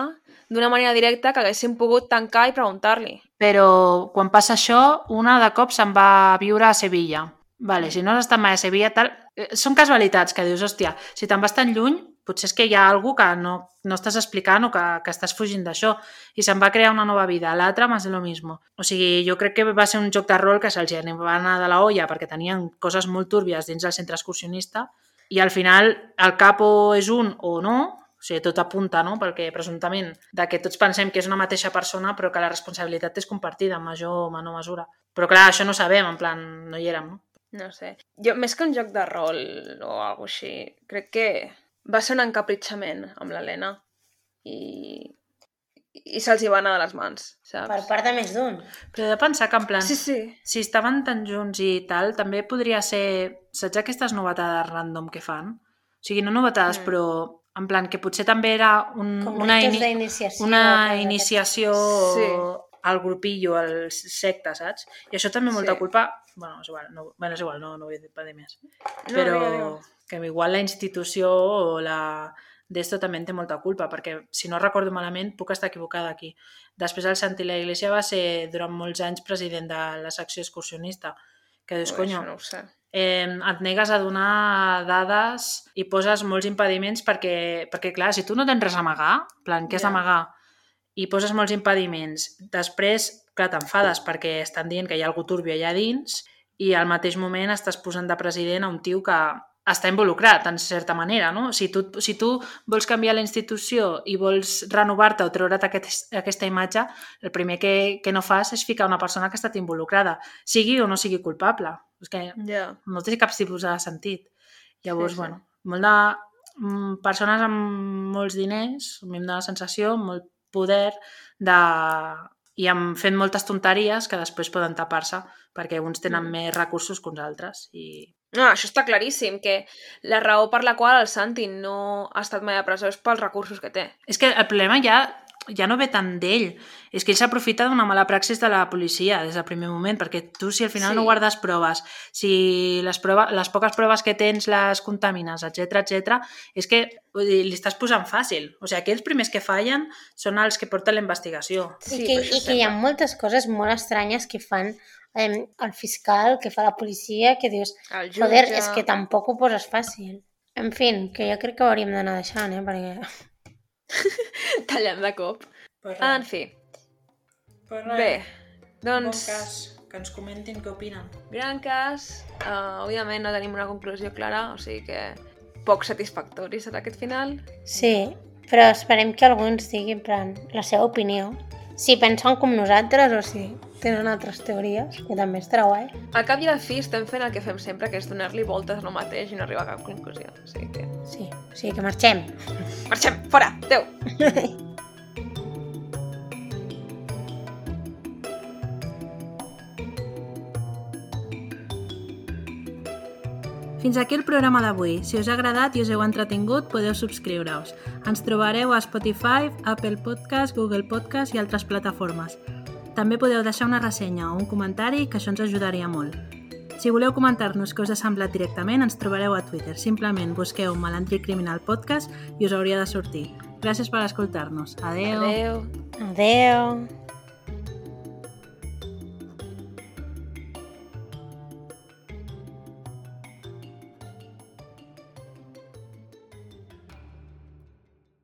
d'una manera directa, que haguessin pogut tancar i preguntar-li. Però quan passa això, una de cop se'n va a viure a Sevilla. Vale, si no has estat mai a Sevilla, tal... eh, Són casualitats que dius, hòstia, si te'n vas tan lluny, potser és que hi ha algú que no, no estàs explicant o que, que estàs fugint d'això i se'n va crear una nova vida. L'altra més lo mismo. O sigui, jo crec que va ser un joc de rol que se'ls va anar de la olla perquè tenien coses molt túrbies dins del centre excursionista i al final el capo és un o no, o sigui, tot apunta, no? Perquè presumptament de que tots pensem que és una mateixa persona però que la responsabilitat és compartida en major o menor mesura. Però clar, això no sabem, en plan, no hi érem, no? No sé. Jo, més que un joc de rol o alguna així, crec que va ser un encapritxament amb l'Helena i, i se'ls hi va anar de les mans, saps? per part de més d'un. Però he de pensar que en plan... Sí, sí. si estaven tan junts i tal, també podria ser... Saps aquestes novetades random que fan? O sigui, no novetades, Mm. mm. però en plan que potser també era un, Com Mm, una, ritos ini d'iniciació. una coses iniciació Sí. sí. al grupillo, al secte, saps? I això també molta Sí. culpa... Bueno, és igual, no, bueno, és igual, no, no vull dir per dir més. No, però digue, digue. que igual la institució o la d'esto també en té molta culpa, perquè si no recordo malament puc estar equivocada aquí. Després el Santi la Iglesia va ser durant molts anys president de la secció excursionista, que dius, Ui, conyo, això No ho sé. eh, et negues a donar dades i poses molts impediments perquè, perquè clar, si tu no tens res a amagar, en plan, què has Ja. d'amagar? I poses molts impediments. Després, clar, t'enfades perquè estan dient que hi ha algú turbio allà dins i al mateix moment estàs posant de president a un tio que està involucrat, en certa manera, no? Si tu, si tu vols canviar la institució i vols renovar-te o treure't aquest, aquesta imatge, el primer que, que no fas és ficar una persona que ha estat involucrada, sigui o no sigui culpable. És que Ja. no té cap tipus de sentit. Llavors, Sí, sí, sí. sí. bueno, molt de mm, persones amb molts diners, a mi em dóna la sensació, amb molt poder de... i amb fent moltes tonteries que després poden tapar-se perquè uns tenen Mm. mm. més recursos que uns altres i No, això està claríssim, que la raó per la qual el Santi no ha estat mai a presó és pels recursos que té. És que el problema ja ja no ve tant d'ell, és que ell s'aprofita d'una mala praxis de la policia des del primer moment, perquè tu si al final Sí. sí. no guardes proves, si les, proves, les poques proves que tens les contamines, etc etc, és que vull dir, li estàs posant fàcil. O sigui, aquí els primers que fallen són els que porten la investigació. I que, per això i que hi ha sembla. moltes coses molt estranyes que fan eh, el fiscal, que fa la policia, que dius, El jutge... joder, és que tampoc ho poses fàcil. En fin, que jo crec que ho hauríem d'anar deixant, eh? Perquè... Mm. Tallem de cop. Pues En fi, Ah, bé, doncs... que ens comentin què opinen. gran cas. Uh, òbviament no tenim una conclusió clara, o sigui que poc satisfactori serà aquest final. Sí, però esperem que algú ens digui en plan, la seva opinió. Si pensen com nosaltres o si tenen altres teories, que també estarà guai. Al cap i a la fi estem fent el que fem sempre, que és donar-li voltes a lo mateix i no arribar a cap conclusió. O sigui que... Sí, o sigui que marxem. Marxem! Fora! Adéu! Fins aquí el programa d'avui. Si us ha agradat i us heu entretingut, podeu subscriure-us. Ens trobareu a Spotify, Apple Podcast, Google Podcast i altres plataformes. També podeu deixar una ressenya o un comentari, que això ens ajudaria molt. Si voleu comentar-nos què us ha semblat directament, ens trobareu a Twitter. Simplement busqueu Malandri Criminal Podcast i us hauria de sortir. Gràcies per escoltar-nos. Adeu. Adéu! Adeu.